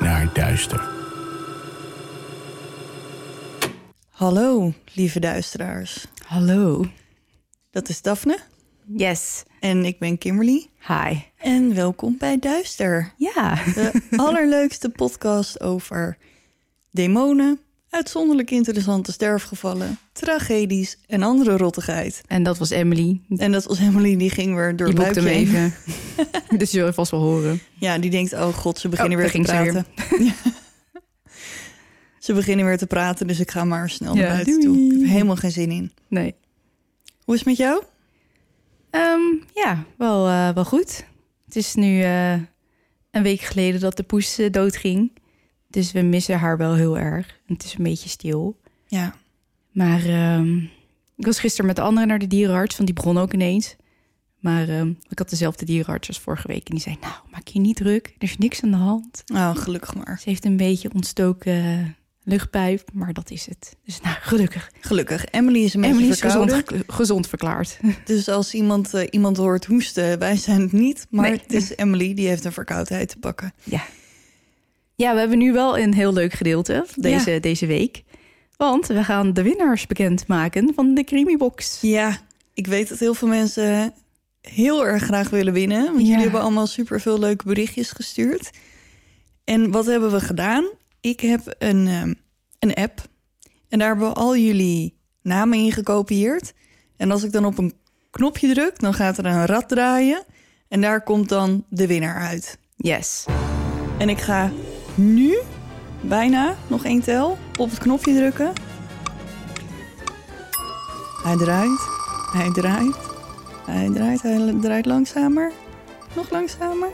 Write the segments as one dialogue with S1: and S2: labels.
S1: Naar duister.
S2: Hallo, lieve duisteraars.
S3: Hallo.
S2: Dat is Daphne
S3: Yes.
S2: en ik ben Kimberly.
S3: Hi.
S2: En welkom bij Duister.
S3: Ja.
S2: De allerleukste podcast over demonen, uitzonderlijk interessante sterfgevallen, tragedies en andere rottigheid.
S3: En dat was Emily.
S2: En dat was Emily, die ging weer door
S3: Eh, Je
S2: het
S3: boekt hem
S2: luikje heen.
S3: even. dus je wil vast wel horen.
S2: Ja, die denkt, oh god, ze beginnen
S3: Oh,
S2: weer te
S3: daar ging ze
S2: praten. Ja. ze beginnen weer te praten, dus ik ga maar snel
S3: Ja,
S2: naar buiten
S3: doei.
S2: toe. Ik heb helemaal geen zin in.
S3: Nee.
S2: Hoe is het met jou?
S3: Ehm, ja, wel, eh, wel goed. Het is nu eh, een week geleden dat de poes eh, doodging. Dus we missen haar wel heel erg. En Het is een beetje stil.
S2: Ja.
S3: Maar ehm, ik was gisteren met de anderen naar de dierenarts, want die begon ook ineens. Maar ehm, ik had dezelfde dierenarts als vorige week. En die zei, nou, maak je niet druk. Er is niks aan de hand.
S2: Nou, gelukkig maar.
S3: Ze heeft een beetje ontstoken eh, luchtpijp, maar dat is het. Dus nou, gelukkig.
S2: Geluggig. Emily is een beetje
S3: Emily is
S2: verkouden.
S3: gezond, gezond verklaard.
S2: Dus als iemand, eh, iemand hoort hoesten, wij zijn het niet. Maar
S3: Nee.
S2: het is Emily, die heeft een verkoudheid te pakken.
S3: Ja. Ja, we hebben nu wel een heel leuk gedeelte deze, deze week. Want we gaan de winnaars bekendmaken van de Creamy Box.
S2: Ja, ik weet dat heel veel mensen heel erg graag willen winnen. Want
S3: Ja.
S2: jullie hebben allemaal superveel leuke berichtjes gestuurd. En wat hebben we gedaan? Ik heb een, ehm, een app. En daar hebben we al jullie namen in gekopieerd. En als ik dan op een knopje druk, dan gaat er een rad draaien. En daar komt dan de winnaar uit.
S3: Yes.
S2: En ik ga nu, bijna, nog één tel, op het knopje drukken. Hij draait, hij draait, hij draait, hij draait langzamer. Nog langzamer.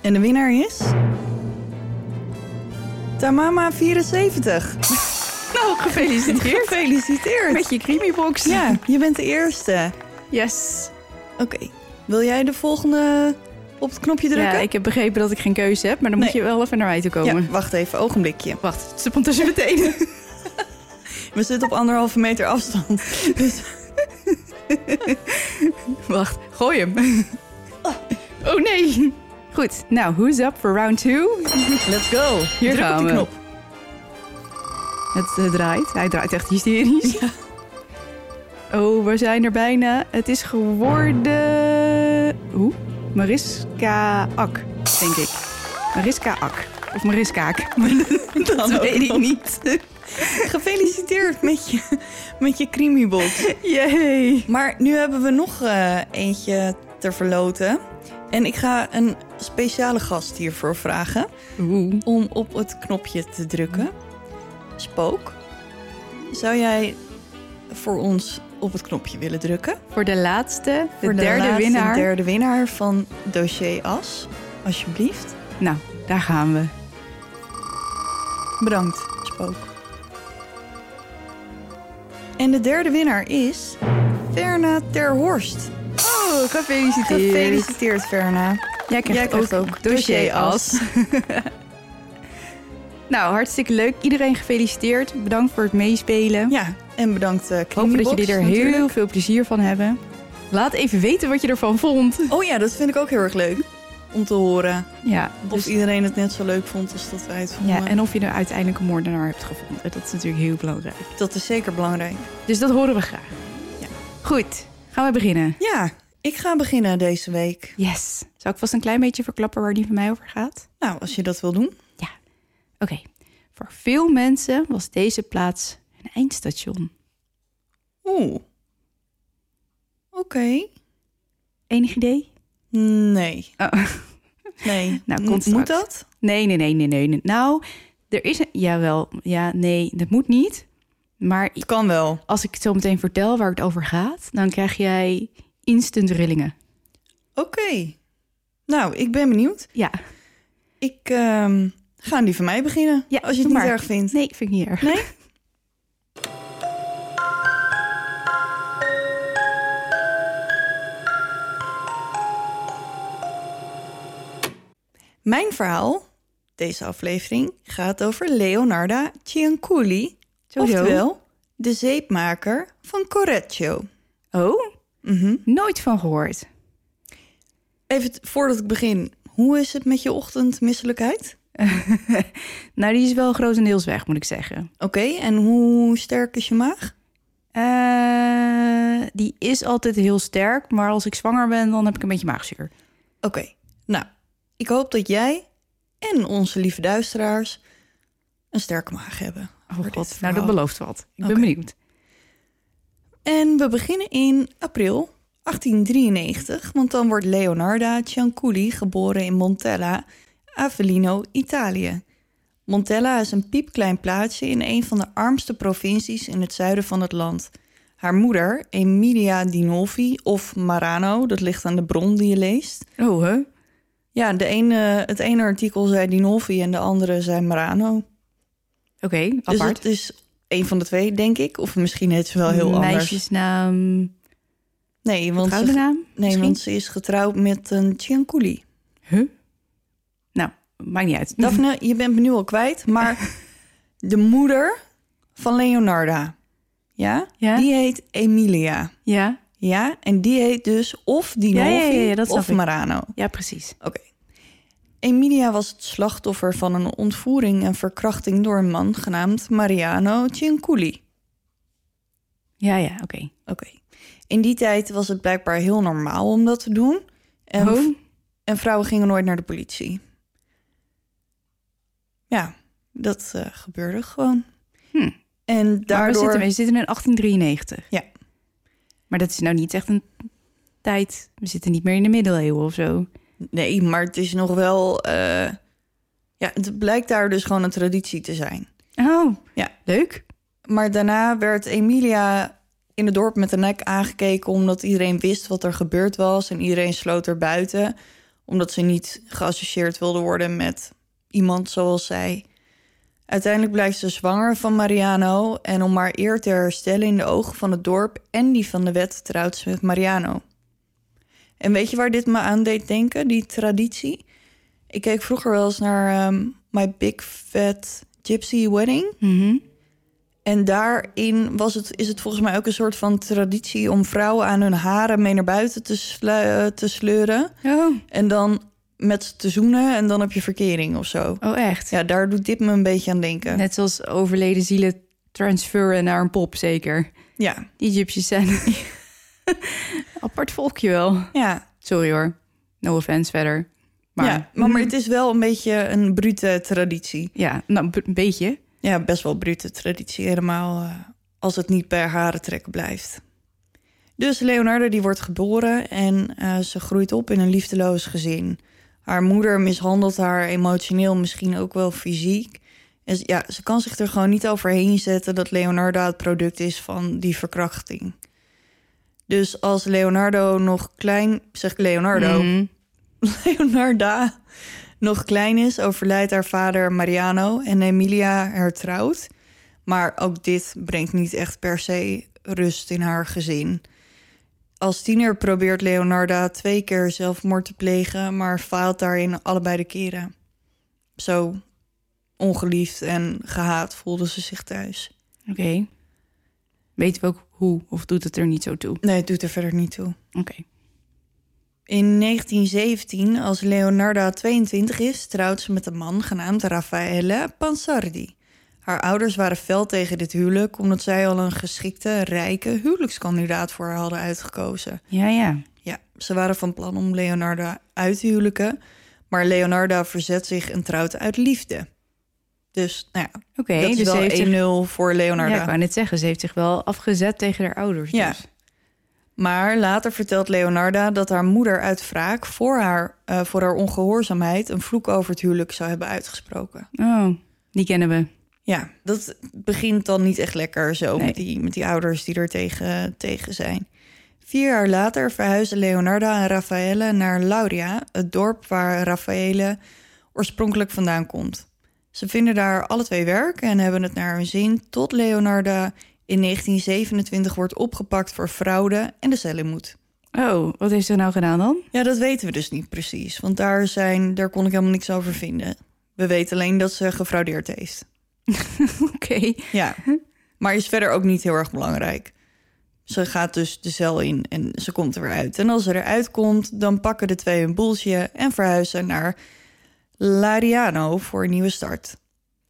S2: En de winnaar is... Tamama74.
S3: Nou, gefeliciteerd
S2: Gefeliciteerd.
S3: met je Creamy Box.
S2: Ja, je bent de eerste.
S3: Yes.
S2: Oké, wil jij de volgende op het knopje drukken?
S3: Ja, ik heb begrepen dat ik geen keuze heb, maar dan moet
S2: Nee.
S3: je wel even naar mij toe komen.
S2: ja wacht even, ogenblikje.
S3: Wacht, het stond tussen mijn tenen.
S2: We zitten op anderhalve meter afstand. Dus
S3: Wacht, gooi hem. Oh nee. Goed, nou, who's up for round two?
S2: let's go.
S3: Hier
S2: Druk
S3: gaan
S2: op die
S3: we.
S2: knop.
S3: Het eh, draait. Hij draait echt hysterisch. Oh, we zijn er bijna. Het is geworden... Hoe? Mariska Ak, denk ik. Mariska Ak. Of Mariska Ak.
S2: Dan
S3: Dat
S2: ook
S3: weet ik
S2: nog.
S3: niet.
S2: Gefeliciteerd met je, met je creamybox.
S3: Yay.
S2: Maar nu hebben we nog eh, eentje te verloten. En ik ga een speciale gast hiervoor vragen
S3: Oeh.
S2: om op het knopje te drukken. Spook, zou jij voor ons op het knopje willen drukken?
S3: Voor de laatste, de
S2: Voor
S3: derde
S2: laatste
S3: winnaar.
S2: derde winnaar van dossier As, alsjeblieft.
S3: Nou, daar gaan we.
S2: Bedankt, Spook. En de derde winnaar is Verna Terhorst.
S3: Oh, gefeliciteerd.
S2: Gefeliciteerd, Verna.
S3: Jij krijgt,
S2: Jij krijgt
S3: ook,
S2: ook
S3: dossier as. Nou, hartstikke leuk. Iedereen gefeliciteerd. Bedankt voor het meespelen.
S2: Ja, en bedankt uh,
S3: Ik hoop dat jullie er heel veel plezier van hebben. Laat even weten wat je ervan vond.
S2: Oh ja, dat vind ik ook heel erg leuk om te horen.
S3: Ja,
S2: Of eh,
S3: dus-
S2: iedereen het net zo leuk vond als dat wij het vonden.
S3: ja en of je er uiteindelijk een moordenaar hebt gevonden. Dat is natuurlijk heel belangrijk.
S2: Dat is zeker belangrijk.
S3: Dus dat horen we graag.
S2: Ja.
S3: Goed, gaan we beginnen.
S2: Ja, ik ga beginnen deze week.
S3: Yes. Zal ik vast een klein beetje verklappen waar die van mij over gaat?
S2: Nou, als je dat wil doen.
S3: Oké. Voor veel mensen was deze plaats een eindstation.
S2: Oeh. Oké.
S3: Enig idee?
S2: Nee.
S3: Oh.
S2: Nee.
S3: Nou,
S2: M-
S3: komt straks.
S2: Moet dat?
S3: Nee, nee, nee, nee, nee. nee. Nou, er is een... Jawel, ja, nee, dat moet niet. Maar
S2: Het kan wel.
S3: als ik het zo meteen vertel waar het over gaat... dan krijg jij instant rillingen.
S2: Oké. Nou, ik ben benieuwd.
S3: Ja,
S2: Ik ehm, ga aan die van mij beginnen.
S3: Ja,
S2: als je het
S3: doe
S2: niet
S3: maar.
S2: erg vindt.
S3: nee, vind ik niet erg.
S2: Nee? Mijn verhaal, deze aflevering, gaat over Leonarda Cianculi.
S3: Zo, zo.
S2: Oftewel, de zeepmaker van Correggio.
S3: Oh,
S2: Mhm.
S3: nooit van gehoord.
S2: Even t- voordat ik begin, hoe is het met je ochtendmisselijkheid?
S3: Nou, die is wel grotendeels weg, moet ik zeggen.
S2: Oké, en hoe sterk is je maag?
S3: Eh, die is altijd heel sterk, maar als ik zwanger ben, dan heb ik een beetje maagzuur.
S2: Oké, nou, ik hoop dat jij en onze lieve duisteraars een sterke maag hebben.
S3: Oh
S2: voor dit
S3: god, nou
S2: verhaal.
S3: dat belooft wat. Ik
S2: Oké.
S3: ben benieuwd.
S2: En we beginnen in april 1893, want dan wordt Leonarda Cianculi geboren in Montella, Avellino, Italië. Montella is een piepklein plaatsje in een van de armste provincies in het zuiden van het land. Haar moeder, Emilia Dinolfi of Marano, dat ligt aan de bron die je leest.
S3: Oh, hè?
S2: Ja, de ene, het ene artikel zei Dinolfi en de andere zei Marano.
S3: Oké,
S2: Dus
S3: apart.
S2: het is een van de twee, denk ik. Of misschien heet ze wel heel anders.
S3: Meisjesnaam,
S2: Nee, want ze
S3: oude naam?
S2: Nee,
S3: misschien?
S2: want ze is getrouwd met een Cianculi.
S3: Huh? Nou, maakt niet uit.
S2: Daphne, je bent me nu al kwijt, maar de moeder van Leonarda, ja?
S3: Ja?
S2: Die heet Emilia,
S3: Ja?
S2: ja? En die heet dus of Dinolfi
S3: Ja, ja, ja, ja, dat snap
S2: of
S3: ik.
S2: Marano.
S3: Ja, precies.
S2: Oké. Emilia was het slachtoffer van een ontvoering en verkrachting door een man genaamd Mariano Cianculi.
S3: Ja, ja, oké.
S2: Oké. In die tijd was het blijkbaar heel normaal om dat te doen. En,
S3: Oh.
S2: en vrouwen gingen nooit naar de politie. Ja, dat eh, gebeurde gewoon.
S3: Hm.
S2: En
S3: Maar we
S2: daardoor...
S3: zitten, we zitten in 1893.
S2: Ja.
S3: Maar dat is nou niet echt een tijd... We zitten niet meer in de middeleeuwen of zo.
S2: Nee, maar het is nog wel... eh, Ja, het blijkt daar dus gewoon een traditie te zijn.
S3: Oh,
S2: Ja.
S3: leuk.
S2: Maar daarna werd Emilia in het dorp met de nek aangekeken... omdat iedereen wist wat er gebeurd was en iedereen sloot er buiten... omdat ze niet geassocieerd wilde worden met iemand zoals zij. Uiteindelijk blijkt ze zwanger van Mariano... en om haar eer te herstellen in de ogen van het dorp... en die van de wet trouwt ze met Mariano. En weet je waar dit me aan deed denken, die traditie? Ik keek vroeger wel eens naar ehm, My Big Fat Gypsy Wedding...
S3: Mhm.
S2: En daarin was het, is het volgens mij ook een soort van traditie om vrouwen aan hun haren mee naar buiten te, slu- eh, te sleuren.
S3: Oh.
S2: En dan met ze te zoenen en dan heb je verkering of zo.
S3: Oh, echt?
S2: Ja, daar doet dit me een beetje aan denken.
S3: Net zoals overleden zielen transferen naar een pop, zeker.
S2: Ja,
S3: Die gypsies zijn een apart volkje wel.
S2: ja.
S3: Sorry hoor. No offense verder. Maar ja,
S2: ja. Maar, maar het is wel een beetje een brute traditie.
S3: nou, b- een beetje.
S2: Ja, best wel brute traditie helemaal. eh, als het niet bij haren trekken blijft. Dus Leonardo die wordt geboren en eh, ze groeit op in een liefdeloos gezin. Haar moeder mishandelt haar emotioneel, misschien ook wel fysiek. En z- ja, ze kan zich er gewoon niet overheen zetten dat Leonardo het product is van die verkrachting. Dus als Leonardo nog klein, zeg ik Leonardo,
S3: Mhm.
S2: Leonarda nog klein is, overlijdt haar vader Mariano en Emilia hertrouwt. Maar ook dit brengt niet echt per se rust in haar gezin. Als tiener probeert Leonarda twee keer zelfmoord te plegen, maar faalt daarin allebei de keren. Zo ongeliefd en gehaat voelde ze zich thuis.
S3: Oké. Weten we ook hoe of doet het er niet zo toe?
S2: Nee, het doet er verder niet toe.
S3: Oké.
S2: In 1917, als Leonarda 22 is, trouwt ze met een man genaamd Raffaele Pansardi. Haar ouders waren fel tegen dit huwelijk omdat zij al een geschikte, rijke huwelijkskandidaat voor haar hadden uitgekozen.
S3: Ja, ja.
S2: Ja, ze waren van plan om Leonarda uit te huwelijken, maar Leonarda verzet zich en trouwt uit liefde. Dus, nou ja,
S3: Oké,
S2: dat is
S3: dus ze
S2: wel
S3: heeft zich...
S2: 1-0 voor
S3: Ja, ik
S2: Leonarda.
S3: wou net zeggen, ze heeft zich wel afgezet tegen haar ouders.
S2: Ja.
S3: dus.
S2: Maar later vertelt Leonarda dat haar moeder uit wraak voor haar, eh, voor haar ongehoorzaamheid een vloek over het huwelijk zou hebben uitgesproken.
S3: Oh, die kennen we.
S2: Ja, dat begint dan niet echt lekker zo
S3: Nee.
S2: met, die, met die ouders die er tegen, tegen zijn. Vier jaar later verhuizen Leonarda en Raffaele naar Lauria, het dorp waar Raffaele oorspronkelijk vandaan komt. Ze vinden daar alle twee werk en hebben het naar hun zin tot Leonarda in 1927 wordt opgepakt voor fraude en de cel in moet.
S3: Oh, wat heeft ze nou gedaan dan?
S2: Ja, dat weten we dus niet precies. Want daar, zijn, daar kon ik helemaal niks over vinden. We weten alleen dat ze gefraudeerd heeft.
S3: Oké.
S2: Ja. Maar is verder ook niet heel erg belangrijk. Ze gaat dus de cel in en ze komt er weer uit. En als ze eruit komt, dan pakken de twee hun boeltje en verhuizen naar Lariano voor een nieuwe start.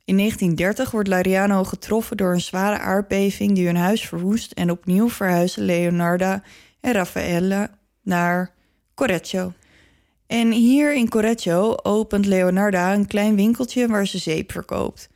S2: In 1930 wordt Lariano getroffen door een zware aardbeving die hun huis verwoest. En opnieuw verhuizen Leonarda en Raffaella naar Correggio. En hier in Correggio opent Leonarda een klein winkeltje waar ze zeep verkoopt.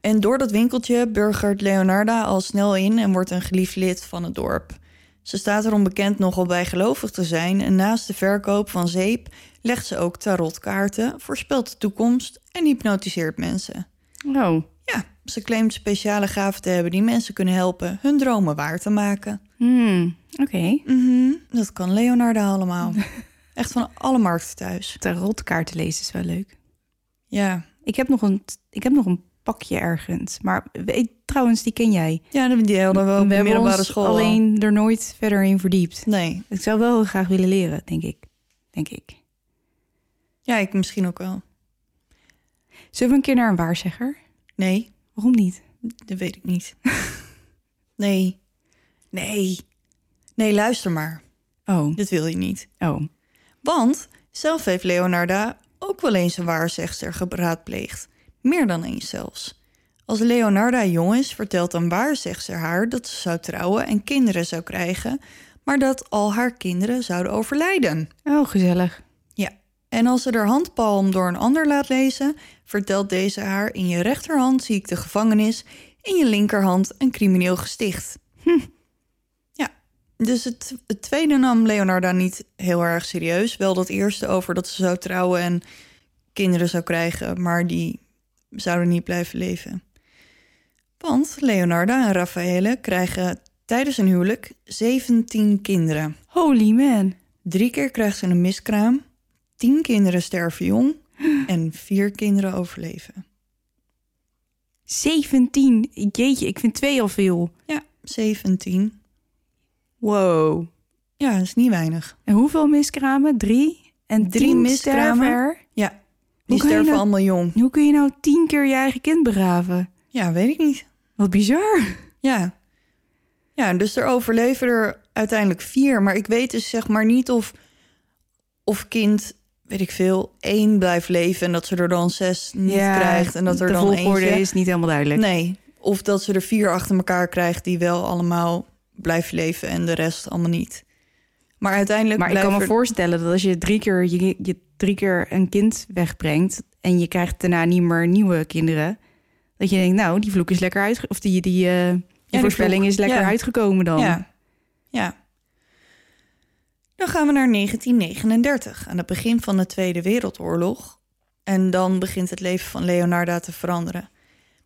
S2: En door dat winkeltje burgert Leonarda al snel in en wordt een geliefd lid van het dorp. Ze staat erom bekend nogal bijgelovig te zijn en naast de verkoop van zeep legt ze ook tarotkaarten, voorspelt de toekomst en hypnotiseert mensen.
S3: Oh,
S2: Ja, ze claimt speciale gaven te hebben die mensen kunnen helpen hun dromen waar te maken.
S3: hmm. oké.
S2: Mhm, dat kan Leonarda allemaal. Echt van alle markten thuis.
S3: Tarotkaarten lezen is wel leuk.
S2: Ja,
S3: Ik heb nog een, ik heb nog een pakje ergens. Maar weet, trouwens, die ken jij.
S2: ja die hadden we ook op de middelbare
S3: ons
S2: school. al.
S3: alleen er nooit verder in verdiept.
S2: Nee,
S3: Ik zou wel heel graag willen leren, denk ik. Denk ik.
S2: ja, ik misschien ook wel.
S3: Zullen we een keer naar een waarzegger?
S2: Nee,
S3: Waarom niet?
S2: dat weet ik niet. Nee, nee, nee, luister maar.
S3: Oh,
S2: Dit wil je niet.
S3: oh.
S2: Want zelf heeft Leonarda ook wel eens een waarzegster geraadpleegd. Meer dan eens zelfs. Als Leonarda jong is, vertelt een waarzegster haar dat ze zou trouwen en kinderen zou krijgen, maar dat al haar kinderen zouden overlijden.
S3: Oh, gezellig.
S2: Ja, en als ze haar handpalm door een ander laat lezen, vertelt deze haar in je rechterhand zie ik de gevangenis, in je linkerhand een crimineel gesticht. Hm. Ja, dus het, het tweede nam Leonarda niet heel erg serieus. Wel dat eerste over dat ze zou trouwen en kinderen zou krijgen, maar die zouden niet blijven leven. Want Leonarda en Raffaele krijgen tijdens hun huwelijk 17 kinderen.
S3: Holy man.
S2: Drie keer krijgt ze een miskraam. Tien kinderen sterven jong. En vier kinderen overleven.
S3: 17. Jeetje, ik vind twee al veel.
S2: Ja, 17.
S3: Wow.
S2: Ja, dat is niet weinig.
S3: En hoeveel miskramen? Drie? En
S2: Drie
S3: tien
S2: miskramen?
S3: sterven er?
S2: Ja,
S3: Hoe
S2: die
S3: kan je
S2: sterven
S3: dat-
S2: allemaal jong.
S3: Hoe kun je nou tien keer je eigen kind begraven?
S2: Ja, weet ik niet.
S3: Wat bizar.
S2: Ja. Ja, dus er overleven er uiteindelijk vier. Maar ik weet dus zeg maar niet of, of kind, weet ik veel, één blijft leven... en dat ze er dan zes niet krijgt en dat er
S3: de
S2: dan
S3: volgorde
S2: eentje...
S3: is niet helemaal duidelijk.
S2: Nee, of dat ze er vier achter elkaar krijgt die wel allemaal blijven leven en de rest allemaal niet. Maar uiteindelijk
S3: Maar ik kan
S2: blijven
S3: me voorstellen dat als je drie keer, je, je drie keer een kind wegbrengt en je krijgt daarna niet meer nieuwe kinderen, dat je denkt, nou, die vloek is lekker uit, of die, die, eh, die
S2: die
S3: voorspelling
S2: vloek,
S3: is lekker
S2: ja.
S3: uitgekomen dan.
S2: Ja. ja. Dan gaan we naar 1939, aan het begin van de Tweede Wereldoorlog. En dan begint het leven van Leonarda te veranderen.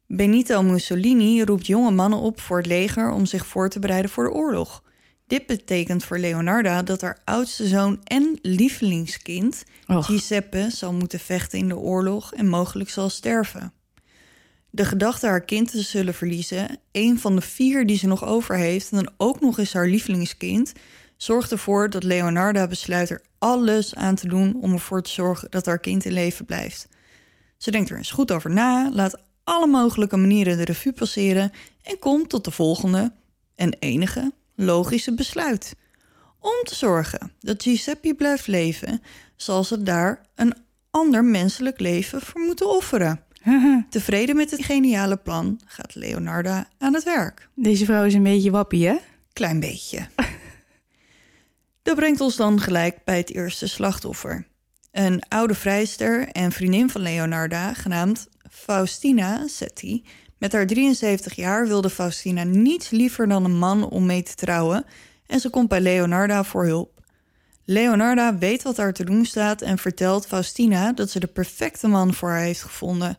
S2: Benito Mussolini roept jonge mannen op voor het leger om zich voor te bereiden voor de oorlog. Dit betekent voor Leonarda dat haar oudste zoon en lievelingskind
S3: Och.
S2: Giuseppe zal moeten vechten in de oorlog en mogelijk zal sterven. De gedachte haar kind te zullen verliezen, een van de vier die ze nog over heeft en dan ook nog eens haar lievelingskind, zorgt ervoor dat Leonarda besluit er alles aan te doen om ervoor te zorgen dat haar kind in leven blijft. Ze denkt er eens goed over na, laat alle mogelijke manieren de revue passeren en komt tot de volgende en enige logische besluit. Om te zorgen dat Giuseppe blijft leven, zal ze daar een ander menselijk leven voor moeten offeren. Tevreden met het geniale plan gaat Leonarda aan het werk.
S4: Deze vrouw is een beetje wappie, hè?
S2: Klein beetje. Dat brengt ons dan gelijk bij het eerste slachtoffer. Een oude vrijster en vriendin van Leonarda, genaamd Faustina Setti. Met haar 73 jaar wilde Faustina niets liever dan een man om mee te trouwen en ze komt bij Leonarda voor hulp. Leonarda weet wat haar te doen staat en vertelt Faustina dat ze de perfecte man voor haar heeft gevonden.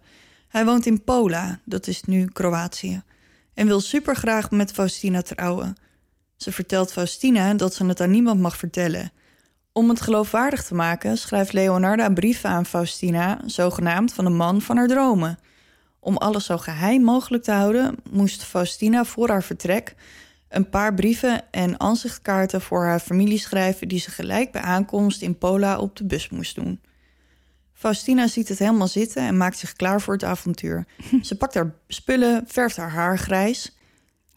S2: Hij woont in Pola, dat is nu Kroatië, en wil supergraag met Faustina trouwen. Ze vertelt Faustina dat ze het aan niemand mag vertellen. Om het geloofwaardig te maken schrijft Leonarda brieven aan Faustina, zogenaamd van de man van haar dromen. Om alles zo geheim mogelijk te houden, moest Faustina voor haar vertrek een paar brieven en aanzichtkaarten voor haar familie schrijven die ze gelijk bij aankomst in Pola op de bus moest doen. Faustina ziet het helemaal zitten en maakt zich klaar voor het avontuur. Ze pakt haar spullen, verft haar haar grijs.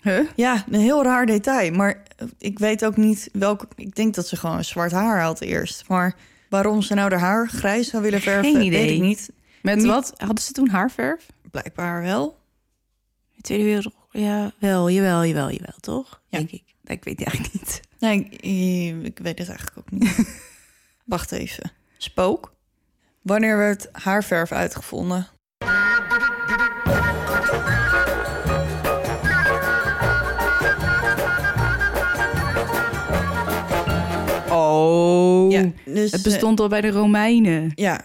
S4: Huh?
S2: Ja, een heel raar detail, maar ik weet ook niet welke. Ik denk dat ze gewoon zwart haar had eerst, maar waarom ze nou haar haar grijs zou willen verven,
S4: Geen idee.
S2: weet ik niet.
S4: Met
S2: Niet-
S4: wat? Hadden ze toen haarverf?
S2: Blijkbaar wel.
S4: De Tweede Wereldoorlog? Ja, wel, jawel, jawel, jawel, toch?
S2: Ja.
S4: Denk ik. Nee, Ik weet het eigenlijk niet.
S2: Nee, ik, eh, ik weet het eigenlijk ook niet. Wacht even. Spook? Wanneer werd haarverf uitgevonden?
S4: Oh.
S2: dus,
S4: het bestond al bij de Romeinen.
S2: eh, ja.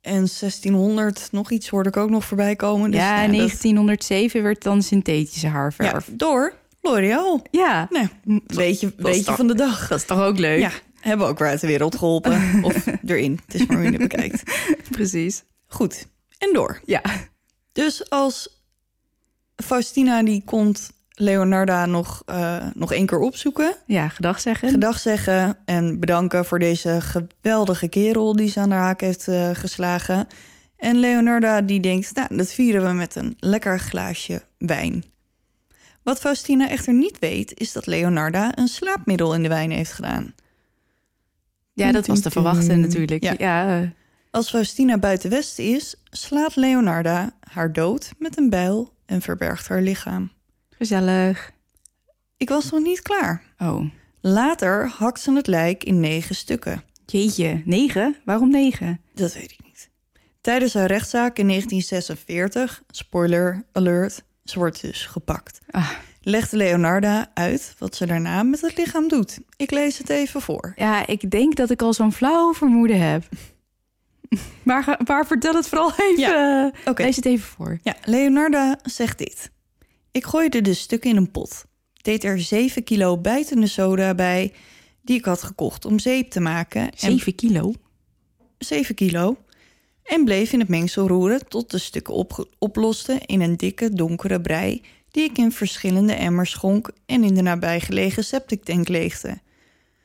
S2: En 1600 nog iets hoorde ik ook nog voorbij komen. Dus,
S4: ja,
S2: nou,
S4: in
S2: dat-
S4: 1907 werd dan synthetische
S2: ja,
S4: haarverf.
S2: door L'Oreal.
S4: Ja.
S2: Nee, beetje,
S4: dat is
S2: beetje
S4: toch-
S2: van de dag.
S4: Dat is toch ook leuk?
S2: Ja, hebben we ook weer uit de wereld geholpen. of erin. Het is maar hoe je het bekijkt.
S4: precies.
S2: Goed. En door.
S4: Ja.
S2: Dus als Faustina die komt Leonarda nog, eh, nog één keer opzoeken.
S4: Ja, gedag zeggen.
S2: Gedag zeggen en bedanken voor deze geweldige kerel die ze aan haar haak heeft eh, geslagen. En Leonarda die denkt, nou, dat vieren we met een lekker glaasje wijn. Wat Faustina echter niet weet, is dat Leonarda een slaapmiddel in de wijn heeft gedaan.
S4: ja, dat was te verwachten natuurlijk.
S2: Ja.
S4: Ja. eh,
S2: Als Faustina buiten Westen is, slaat Leonarda haar dood met een bijl en verbergt haar lichaam.
S4: gezellig.
S2: Ik was nog niet klaar.
S4: Oh.
S2: Later hakt ze het lijk in negen stukken.
S4: Jeetje, negen? Waarom negen?
S2: Dat weet ik niet. Tijdens haar rechtszaak in 1946, spoiler alert, ze wordt dus gepakt.
S4: Ah.
S2: Legt Leonarda uit wat ze daarna met het lichaam doet. Ik lees het even voor.
S4: Ja, ik denk dat ik al zo'n flauw vermoeden heb. maar, ga- maar vertel het vooral even.
S2: Oké,
S4: Lees het even voor.
S2: ja, Leonarda zegt dit. Ik gooide de stukken in een pot. Deed er 7 kilo bijtende soda bij die ik had gekocht om zeep te maken. en-
S4: 7 kilo?
S2: 7 kilo. En bleef in het mengsel roeren tot de stukken opge- oplosten in een dikke, donkere brei... die ik in verschillende emmers schonk en in de nabijgelegen septic tank leegde.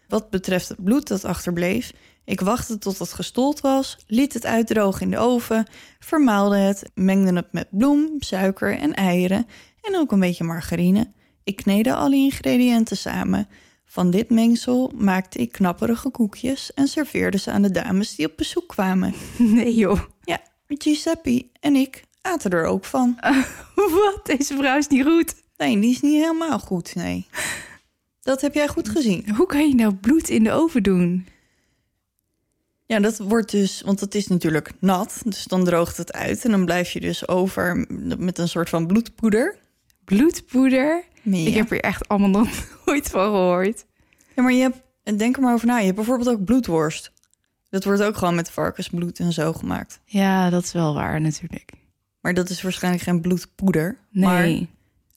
S2: Wat betreft het bloed dat achterbleef, ik wachtte tot het gestold was... liet het uitdrogen in de oven, vermaalde het, mengde het met bloem, suiker en eieren... en ook een beetje margarine. Ik kneedde alle ingrediënten samen... Van dit mengsel maakte ik knapperige koekjes en serveerde ze aan de dames die op bezoek kwamen.
S4: Nee joh.
S2: Ja, Giuseppe en ik aten er ook van.
S4: Wat? Deze vrouw is niet goed.
S2: Nee, die is niet helemaal goed, nee. Dat heb jij goed gezien.
S4: Hoe kan je nou bloed in de oven doen?
S2: Ja, dat wordt dus, want het is natuurlijk nat, dus dan droogt het uit en dan blijf je dus over met een soort van bloedpoeder.
S4: Bloedpoeder?
S2: Ja.
S4: Ik heb hier echt allemaal nog nooit van gehoord.
S2: Ja, maar je hebt, en denk er maar over na, je hebt bijvoorbeeld ook bloedworst. Dat wordt ook gewoon met varkensbloed en zo gemaakt.
S4: Ja, dat is wel waar natuurlijk.
S2: Maar dat is waarschijnlijk geen bloedpoeder. Maar
S4: Nee.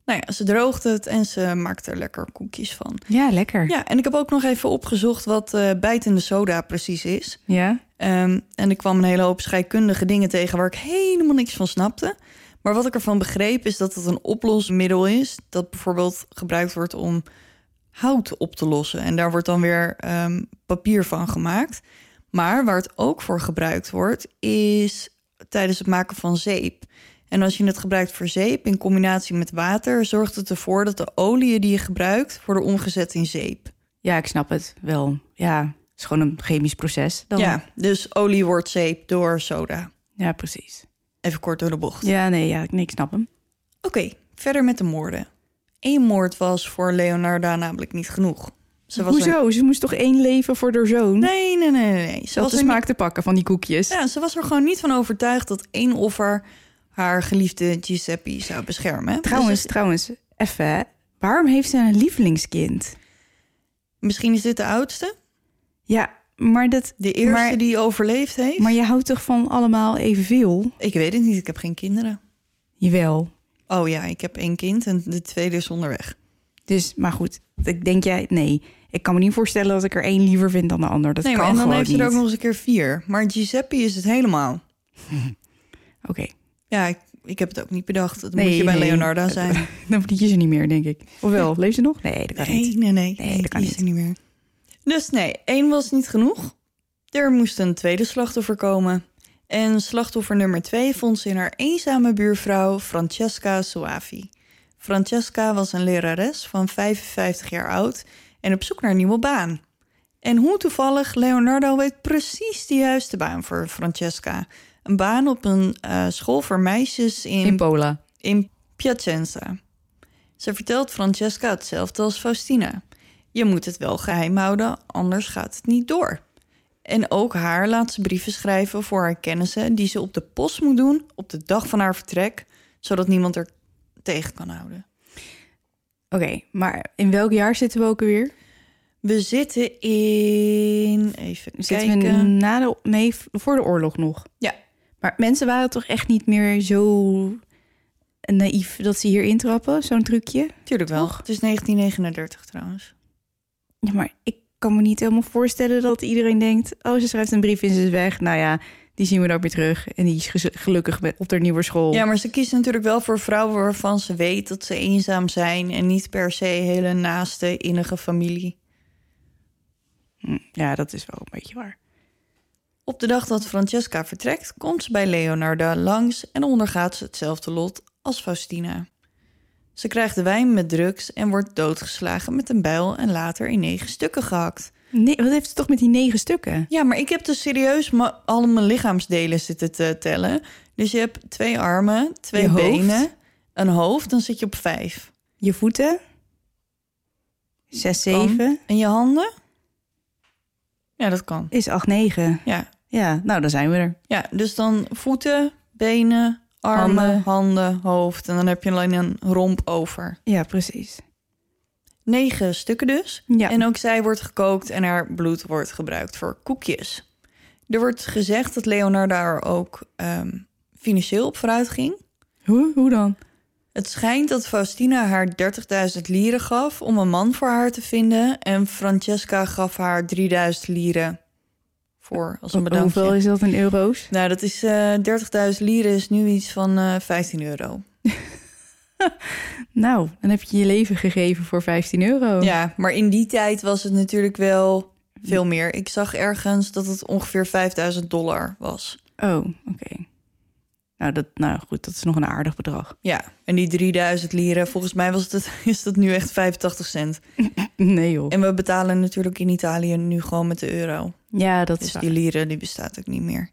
S2: Nou ja, ze droogde het en ze maakte er lekker koekjes van.
S4: Ja, lekker.
S2: Ja, en ik heb ook nog even opgezocht wat eh, bijtende soda precies is.
S4: Ja?
S2: Ehm, en ik kwam een hele hoop scheikundige dingen tegen waar ik helemaal niks van snapte. Maar wat ik ervan begreep is dat het een oplosmiddel is... dat bijvoorbeeld gebruikt wordt om hout op te lossen. En daar wordt dan weer ehm, papier van gemaakt. Maar waar het ook voor gebruikt wordt, is tijdens het maken van zeep. En als je het gebruikt voor zeep in combinatie met water, zorgt het ervoor dat de oliën die je gebruikt worden omgezet in zeep.
S3: Ja, ik snap het wel. Ja, het is gewoon een chemisch proces. Dan.
S2: Ja, dus olie wordt zeep door soda.
S3: ja, precies.
S2: Even kort door de bocht.
S3: Ja, nee, ja, nee, ik snap hem.
S2: Oké, verder met de moorden. Eén moord was voor Leonarda namelijk niet genoeg. Ze was er-
S3: Hoezo? Ze moest toch één leven voor haar zoon?
S2: Nee, nee, nee, nee, nee. Ze
S3: Ze had
S2: was,
S3: de
S2: er niet...
S3: smaak te pakken van die koekjes.
S2: ja, ze was er gewoon niet van overtuigd dat één offer haar geliefde Giuseppe zou beschermen.
S3: Trouwens,
S2: Dus
S3: trouwens, even. hè. Waarom heeft ze een lievelingskind?
S2: misschien is dit de oudste,
S3: Ja, maar, dat,
S2: de eerste
S3: Maar-
S2: die overleefd heeft.
S3: maar je houdt toch van allemaal evenveel?
S2: Ik weet het niet, ik heb geen kinderen.
S3: Jawel.
S2: Oh ja, ik heb één kind en de tweede is onderweg.
S3: Dus, maar goed, ik denk jij, nee. Ik kan me niet voorstellen dat ik er één liever vind dan de ander. Dat
S2: nee,
S3: kan
S2: maar en dan
S3: gewoon
S2: heeft
S3: niet.
S2: ze er ook nog eens een keer vier. Maar Giuseppe is het helemaal.
S3: Oké,
S2: Ja, ik, ik heb het ook niet bedacht. Dat moet
S3: Nee,
S2: je bij
S3: nee. Eh,
S2: Leonarda zijn.
S3: dan verdien je ze niet meer, denk ik. Of wel, leeft ze nog? Nee, dat kan
S2: Nee,
S3: niet.
S2: nee, nee.
S3: Nee, dat kan
S2: die is er niet meer. Dus nee, één was niet genoeg. Er moest een tweede slachtoffer komen. En slachtoffer nummer twee vond ze in haar eenzame buurvrouw Francesca Soavi. Francesca was een lerares van 55 jaar oud en op zoek naar een nieuwe baan. En hoe toevallig, Leonardo weet precies de juiste baan voor Francesca. Een baan op een eh, school voor meisjes
S3: In Pola.
S2: in Piacenza. Ze vertelt Francesca hetzelfde als Faustina. Je moet het wel geheim houden, anders gaat het niet door. En ook haar laat ze brieven schrijven voor haar kennissen die ze op de post moet doen op de dag van haar vertrek, zodat niemand er tegen kan houden.
S3: Oké, maar in welk jaar zitten we ook weer?
S2: We zitten in even
S3: Zitten
S2: kijken.
S3: we na de, nee, voor de oorlog nog?
S2: Ja.
S3: Maar mensen waren toch echt niet meer zo naïef dat ze hier intrappen, zo'n trucje?
S2: Tuurlijk wel.
S3: Toch?
S2: Het is 1939 trouwens.
S3: Ja, maar ik kan me niet helemaal voorstellen dat iedereen denkt... oh, ze schrijft een brief en ze is weg. Nou ja, die zien we dan weer terug. En die is gez- gelukkig met- op haar nieuwe school.
S2: Ja, maar ze kiest natuurlijk wel voor vrouwen waarvan ze weet dat ze eenzaam zijn en niet per se hele naaste innige familie.
S3: Hm, ja, dat is wel een beetje waar.
S2: Op de dag dat Francesca vertrekt, komt ze bij Leonarda langs en ondergaat ze hetzelfde lot als Faustina. Ze krijgt de wijn met drugs en wordt doodgeslagen met een bijl en later in negen stukken gehakt.
S3: Nee, wat heeft ze toch met die negen stukken?
S2: Ja, maar ik heb dus serieus ma- al mijn lichaamsdelen zitten te tellen. Dus je hebt twee armen, twee
S3: Je hoofd.
S2: benen, een hoofd, dan zit je op vijf.
S3: Je voeten? Zes,
S2: Kan.
S3: zeven
S2: En je handen? Ja, dat kan.
S3: is acht, negen.
S2: Ja,
S3: Ja, nou, dan zijn we er.
S2: Ja, dus dan voeten, benen, armen, handen.
S3: Handen.
S2: hoofd. En dan heb je alleen een romp over.
S3: Ja, precies.
S2: Negen stukken dus.
S3: Ja.
S2: En ook zij wordt gekookt en haar bloed wordt gebruikt voor koekjes. Er wordt gezegd dat Leonardo er ook ehm, financieel op vooruit ging.
S3: Hoe, hoe dan?
S2: Het schijnt dat Faustina haar 30.000 lieren gaf om een man voor haar te vinden. En Francesca gaf haar 3000 lieren voor als een bedankje.
S3: Hoeveel is dat in euro's?
S2: Nou, dat is eh 30.000 lieren is nu iets van eh 15 euro.
S3: Nou, dan heb je je leven gegeven voor 15 euro.
S2: Ja, maar in die tijd was het natuurlijk wel veel meer. Ik zag ergens dat het ongeveer 5000 dollar was.
S3: Oh, oké. Nou, dat, nou goed, dat is nog een aardig bedrag.
S2: Ja, en die 3000 lieren, volgens mij was het, is dat nu echt 85 cent.
S3: Nee joh.
S2: En we betalen natuurlijk in Italië nu gewoon met de euro.
S3: Ja, dat
S2: Dus
S3: is
S2: die lieren, die bestaat ook niet meer.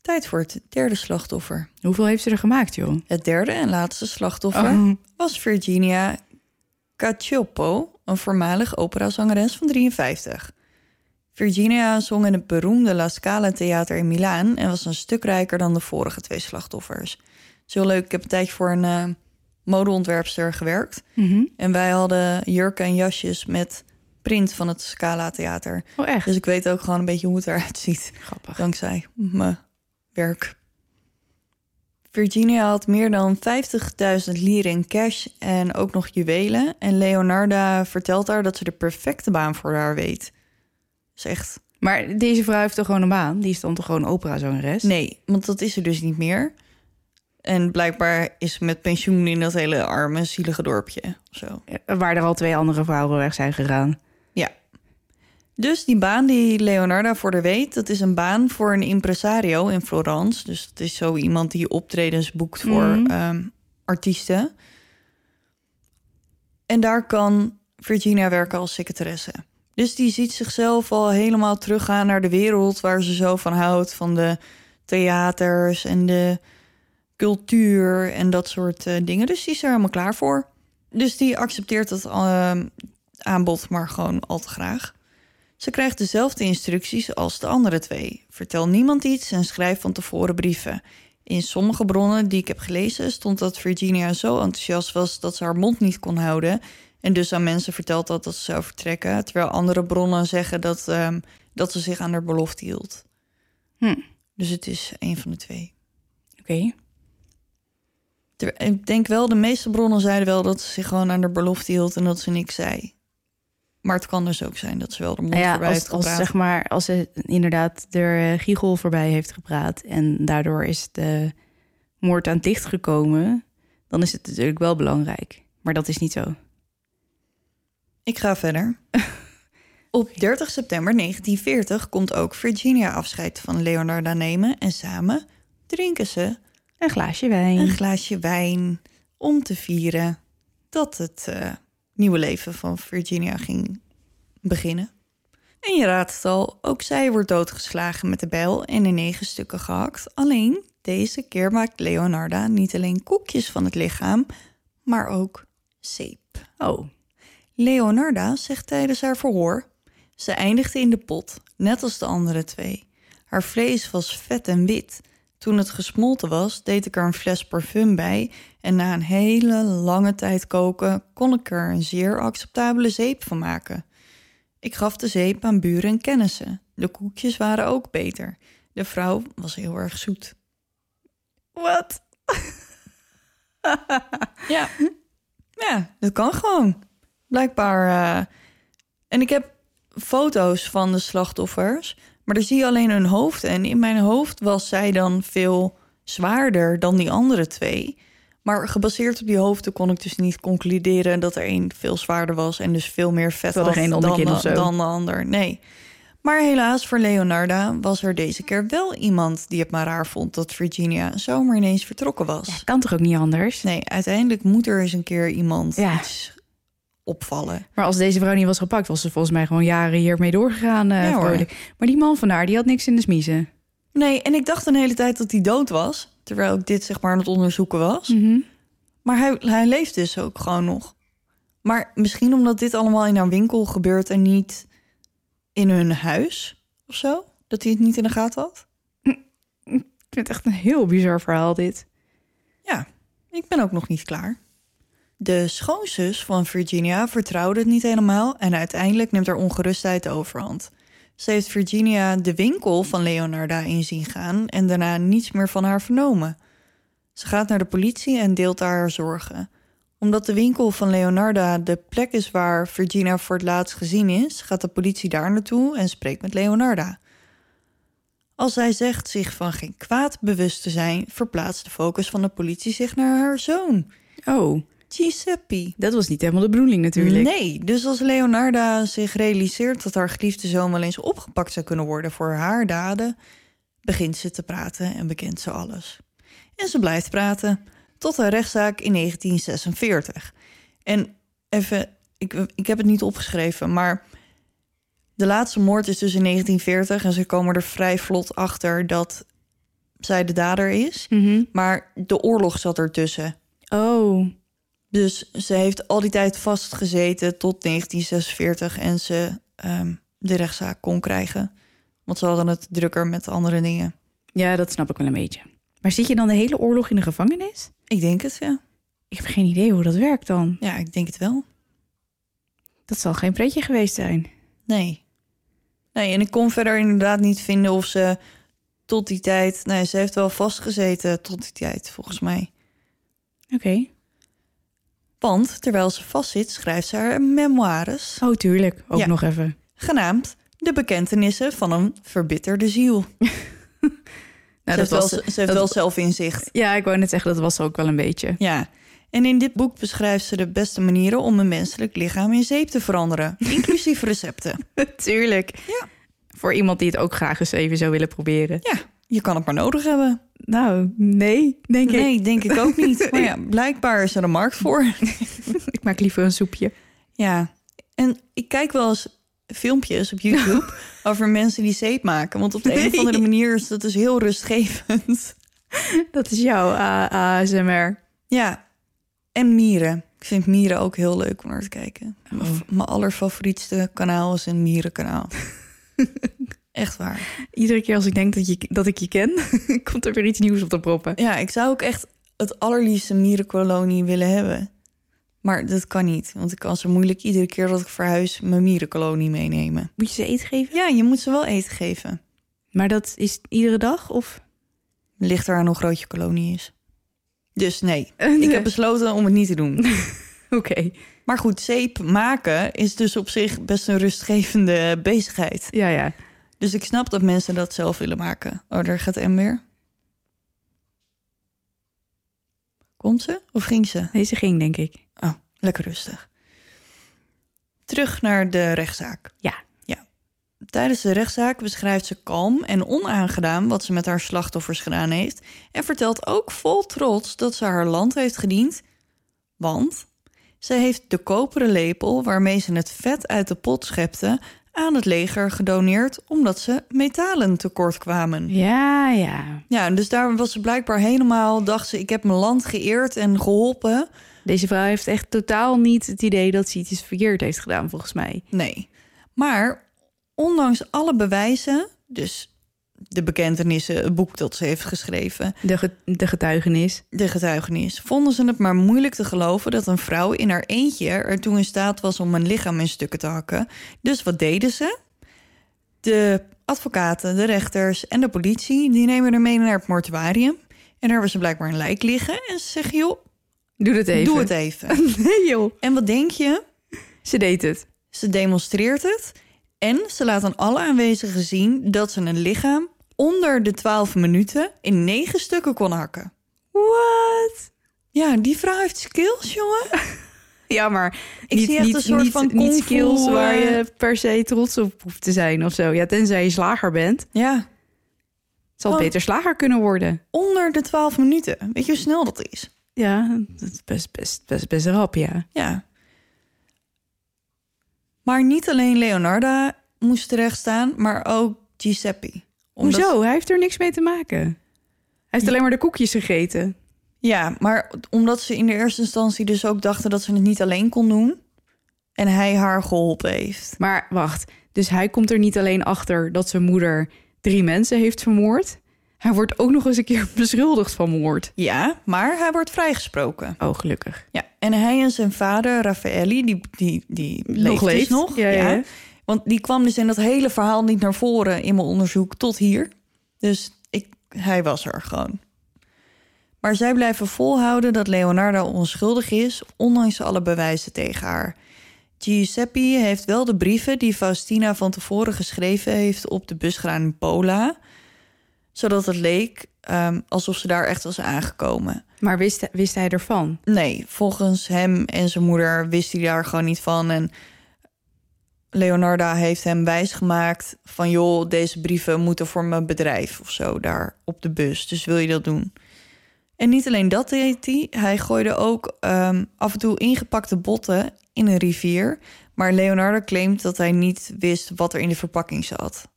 S2: Tijd voor het derde slachtoffer.
S3: Hoeveel heeft ze er gemaakt, joh?
S2: Het derde en laatste slachtoffer
S3: Oh.
S2: was Virginia Cacioppo, een voormalig operazangeres van 53. Virginia zong in het beroemde La Scala Theater in Milaan en was een stuk rijker dan de vorige twee slachtoffers. Zo leuk, ik heb een tijdje voor een eh, modeontwerpster gewerkt
S3: Mhm.
S2: en wij hadden jurken en jasjes met print van het Scala Theater.
S3: Oh, echt?
S2: Dus ik weet ook gewoon een beetje hoe het eruit ziet
S3: Grappig.
S2: dankzij mijn werk. Virginia had meer dan 50.000 lieren in cash en ook nog juwelen. En Leonarda vertelt haar dat ze de perfecte baan voor haar weet. Is echt,
S3: Maar deze vrouw heeft toch gewoon een baan? Die is dan toch gewoon operazangeres?
S2: nee, want dat is er dus niet meer. En blijkbaar is ze met pensioen in dat hele arme, zielige dorpje of zo.
S3: Eh, Waar er al twee andere vrouwen weg zijn gegaan.
S2: Ja. Dus die baan die Leonardo voor de weet, dat is een baan voor een impresario in Florence. Dus dat is zo iemand die optredens boekt voor
S4: Mhm.
S2: ehm, artiesten. En daar kan Virginia werken als secretaresse. Dus die ziet zichzelf al helemaal teruggaan naar de wereld waar ze zo van houdt. Van de theaters en de cultuur en dat soort eh, dingen. Dus die is er helemaal klaar voor. Dus die accepteert dat ehm, aanbod maar gewoon al te graag. Ze krijgt dezelfde instructies als de andere twee. Vertel niemand iets en schrijf van tevoren brieven. In sommige bronnen die ik heb gelezen stond dat Virginia zo enthousiast was dat ze haar mond niet kon houden. En dus aan mensen verteld had dat ze zou vertrekken. Terwijl andere bronnen zeggen dat, ehm, dat ze zich aan haar belofte hield.
S4: Hm.
S2: Dus het is een van de twee.
S4: Oké.
S2: Ter- Ik denk wel, de meeste bronnen zeiden wel dat ze zich gewoon aan haar belofte hield en dat ze niks zei. Maar het kan dus ook zijn dat ze wel de mond
S4: Nou ja,
S2: voorbij
S4: als,
S2: heeft
S4: als,
S2: gepraat.
S4: zeg maar, als ze inderdaad er Giegel voorbij heeft gepraat en daardoor is de moord aan het licht gekomen, dan is het natuurlijk wel belangrijk. Maar dat is niet zo.
S2: Ik ga verder. Op 30 september 1940 komt ook Virginia afscheid van Leonarda nemen en samen drinken ze
S4: Een glaasje wijn.
S2: een glaasje wijn om te vieren dat het eh, nieuwe leven van Virginia ging beginnen. En je raadt het al, ook zij wordt doodgeslagen met de bijl en in negen stukken gehakt. Alleen deze keer maakt Leonarda niet alleen koekjes van het lichaam, maar ook zeep.
S4: Oh,
S2: Leonarda zegt tijdens haar verhoor: ze eindigde in de pot, net als de andere twee. Haar vlees was vet en wit. Toen het gesmolten was, deed ik er een fles parfum bij en na een hele lange tijd koken kon ik er een zeer acceptabele zeep van maken. Ik gaf de zeep aan buren en kennissen. De koekjes waren ook beter. De vrouw was heel erg zoet.
S4: wat?
S2: Ja. Ja, dat kan gewoon. Blijkbaar. eh, En ik heb foto's van de slachtoffers, maar daar zie je alleen hun hoofd. En in mijn hoofd was zij dan veel zwaarder dan die andere twee. Maar gebaseerd op die hoofden kon ik dus niet concluderen dat er één veel zwaarder was en dus veel meer vet
S4: Ze hadden
S2: had
S4: geen
S2: dan,
S4: onderkin
S2: de-
S4: of zo.
S2: dan de ander. Nee. Maar helaas voor Leonarda was er deze keer wel iemand die het maar raar vond dat Virginia zomaar ineens vertrokken was.
S4: Ja, kan toch ook niet anders?
S2: Nee, uiteindelijk moet er eens een keer iemand
S4: Ja.
S2: iets opvallen.
S4: Maar als deze vrouw niet was gepakt, was ze volgens mij gewoon jaren hiermee doorgegaan. eh,
S2: Ja, hoor.
S4: vermoedelijk. maar die man van haar, die had niks in de smiezen.
S2: Nee, en ik dacht een hele tijd dat hij dood was. Terwijl ik dit zeg maar aan het onderzoeken was.
S4: Mhm.
S2: Maar hij, hij leeft dus ook gewoon nog. Maar misschien omdat dit allemaal in haar winkel gebeurt en niet in hun huis of zo. Dat hij het niet in de gaten had.
S4: Ik vind het echt een heel bizar verhaal, dit.
S2: Ja, ik ben ook nog niet klaar. De schoonzus van Virginia vertrouwde het niet helemaal en uiteindelijk neemt haar ongerustheid de overhand. Ze heeft Virginia de winkel van Leonarda in zien gaan en daarna niets meer van haar vernomen. Ze gaat naar de politie en deelt daar haar zorgen. Omdat de winkel van Leonarda de plek is waar Virginia voor het laatst gezien is, gaat de politie daar naartoe en spreekt met Leonarda. Als zij zegt zich van geen kwaad bewust te zijn, verplaatst de focus van de politie zich naar haar zoon,
S4: Oh,
S2: Giuseppe.
S4: dat was niet helemaal de bedoeling natuurlijk.
S2: Nee, dus als Leonarda zich realiseert dat haar geliefde zoon wel eens opgepakt zou kunnen worden voor haar daden, begint ze te praten en bekent ze alles. En ze blijft praten tot een rechtszaak in 1946. En even, ik, ik heb het niet opgeschreven, maar de laatste moord is dus in 1940 en ze komen er vrij vlot achter dat zij de dader is.
S4: Mhm.
S2: Maar de oorlog zat ertussen.
S4: Oh,
S2: Dus ze heeft al die tijd vastgezeten tot 1946 en ze ehm, de rechtszaak kon krijgen. Want ze hadden het drukker met andere dingen.
S4: ja, dat snap ik wel een beetje. Maar zit je dan de hele oorlog in de gevangenis?
S2: Ik denk het, ja.
S4: Ik heb geen idee hoe dat werkt dan.
S2: Ja, ik denk het wel.
S4: Dat zal geen pretje geweest zijn.
S2: Nee. Nee, en ik kon verder inderdaad niet vinden of ze tot die tijd... Nee, ze heeft wel vastgezeten tot die tijd, volgens mij.
S4: Oké.
S2: Want terwijl ze vastzit, schrijft ze haar memoires...
S4: Oh, tuurlijk. Ook
S2: Ja.
S4: nog
S3: Nou,
S4: even.
S2: genaamd De Bekentenissen van een Verbitterde Ziel.
S4: Nou,
S2: ze, heeft wel, ze heeft
S4: dat-
S2: wel zelfinzicht.
S4: Ja, ik wou net zeggen, dat was ook wel een beetje.
S2: Ja, En in dit boek beschrijft ze de beste manieren om een menselijk lichaam in zeep te veranderen, inclusief recepten.
S3: Tuurlijk.
S2: Ja.
S3: Voor iemand die het ook graag eens even zou willen proberen.
S2: Ja, je kan het maar nodig hebben.
S3: Nou, nee, denk ik.
S2: Nee, denk ik ook niet. Maar ja, blijkbaar is er een markt voor.
S3: Ik maak liever een soepje.
S2: Ja, en ik kijk wel eens filmpjes op YouTube over mensen die zeep maken. Want op de een of andere manier is dat dus heel rustgevend.
S3: Dat is jouw eh, ASMR.
S2: Ja, en mieren. Ik vind mieren ook heel leuk om naar te kijken. Mijn f- Mijn allerfavorietste kanaal is een mierenkanaal. Echt waar.
S3: Iedere keer als ik denk dat, je, dat ik je ken, komt er weer iets nieuws op te proppen.
S2: Ja, ik zou ook echt het allerliefste mierenkolonie willen hebben. Maar dat kan niet, want ik kan ze moeilijk iedere keer dat ik verhuis mijn mierenkolonie meenemen.
S3: Moet je ze eten geven?
S2: Ja, je moet ze wel eten geven.
S3: Maar dat is iedere dag? Of?
S2: Ligt eraan hoe groot je kolonie is. Dus nee,
S3: Nee.
S2: ik heb besloten om het niet te doen.
S3: Oké.
S2: Maar goed, zeep maken is dus op zich best een rustgevende bezigheid.
S3: Ja, ja.
S2: Dus ik snap dat mensen dat zelf willen maken. Oh, daar gaat M weer. Komt ze of ging ze?
S3: Deze ging, denk ik.
S2: Oh, lekker rustig. Terug naar de rechtszaak.
S3: Ja.
S2: Tijdens de rechtszaak beschrijft ze kalm en onaangedaan wat ze met haar slachtoffers gedaan heeft en vertelt ook vol trots dat ze haar land heeft gediend, want ze heeft de koperen lepel waarmee ze het vet uit de pot schepte aan het leger gedoneerd omdat ze metalen tekort kwamen.
S3: Ja, ja.
S2: Ja, dus daar was ze blijkbaar helemaal, dacht ze, ik heb mijn land geëerd en geholpen.
S3: Deze vrouw heeft echt totaal niet het idee dat ze iets verkeerd heeft gedaan, volgens mij.
S2: Nee. Maar ondanks alle bewijzen, dus de bekentenissen, het boek dat ze heeft geschreven,
S3: De, ge- de getuigenis.
S2: de getuigenis, vonden ze het maar moeilijk te geloven dat een vrouw in haar eentje ertoe in staat was om een lichaam in stukken te hakken. Dus wat deden ze? De advocaten, de rechters en de politie, die nemen haar mee naar het mortuarium. En daar hebben ze blijkbaar een lijk liggen. En ze zeggen, joh,
S3: Doe het even.
S2: doe het even.
S3: Nee, joh.
S2: en wat denk je?
S3: Ze deed het.
S2: Ze demonstreert het en ze laat aan alle aanwezigen zien dat ze een lichaam onder de 12 minuten in negen stukken kon hakken.
S3: What?
S2: Ja, die vrouw heeft skills, jongen.
S3: Ja, maar
S2: Ik zie echt een soort van
S3: niet
S2: kung fu,
S3: skills
S2: eh,
S3: waar je per se trots op hoeft te zijn of zo. Ja, tenzij je slager bent.
S2: Ja,
S3: Zal het
S2: Oh.
S3: beter slager kunnen worden.
S2: onder de 12 minuten. Weet je hoe snel dat is?
S3: Ja, dat is best, best, best, best rap, ja.
S2: Ja. Maar niet alleen Leonarda moest terecht staan, maar ook Giuseppe. Omdat-
S3: Hoezo? Hij heeft er niks mee te maken. Hij heeft alleen maar de koekjes gegeten.
S2: Ja, maar omdat ze in de eerste instantie dus ook dachten dat ze het niet alleen kon doen. En hij haar geholpen heeft.
S3: Maar wacht, dus hij komt er niet alleen achter dat zijn moeder drie mensen heeft vermoord. Hij wordt ook nog eens een keer beschuldigd van moord.
S2: Ja, maar hij wordt vrijgesproken.
S3: Oh, gelukkig.
S2: Ja, en hij en zijn vader, Raffaelli, die, die, die leeft
S3: Nog
S2: dus
S3: leeft.
S2: nog.
S3: Ja, ja, ja.
S2: Want die kwam dus in dat hele verhaal niet naar voren in mijn onderzoek tot hier. Dus ik, hij was er gewoon. Maar zij blijven volhouden dat Leonardo onschuldig is, ondanks alle bewijzen tegen haar. Giuseppe heeft wel de brieven die Faustina van tevoren geschreven heeft op de busgraan Pola, zodat het leek ehm, alsof ze daar echt was aangekomen.
S3: Maar wist, wist hij ervan?
S2: Nee, volgens hem en zijn moeder wist hij daar gewoon niet van. En Leonarda heeft hem wijsgemaakt van... joh, deze brieven moeten voor mijn bedrijf of zo daar op de bus. Dus wil je dat doen? En niet alleen dat deed hij. Hij gooide ook ehm, af en toe ingepakte botten in een rivier. Maar Leonardo claimt dat hij niet wist wat er in de verpakking zat.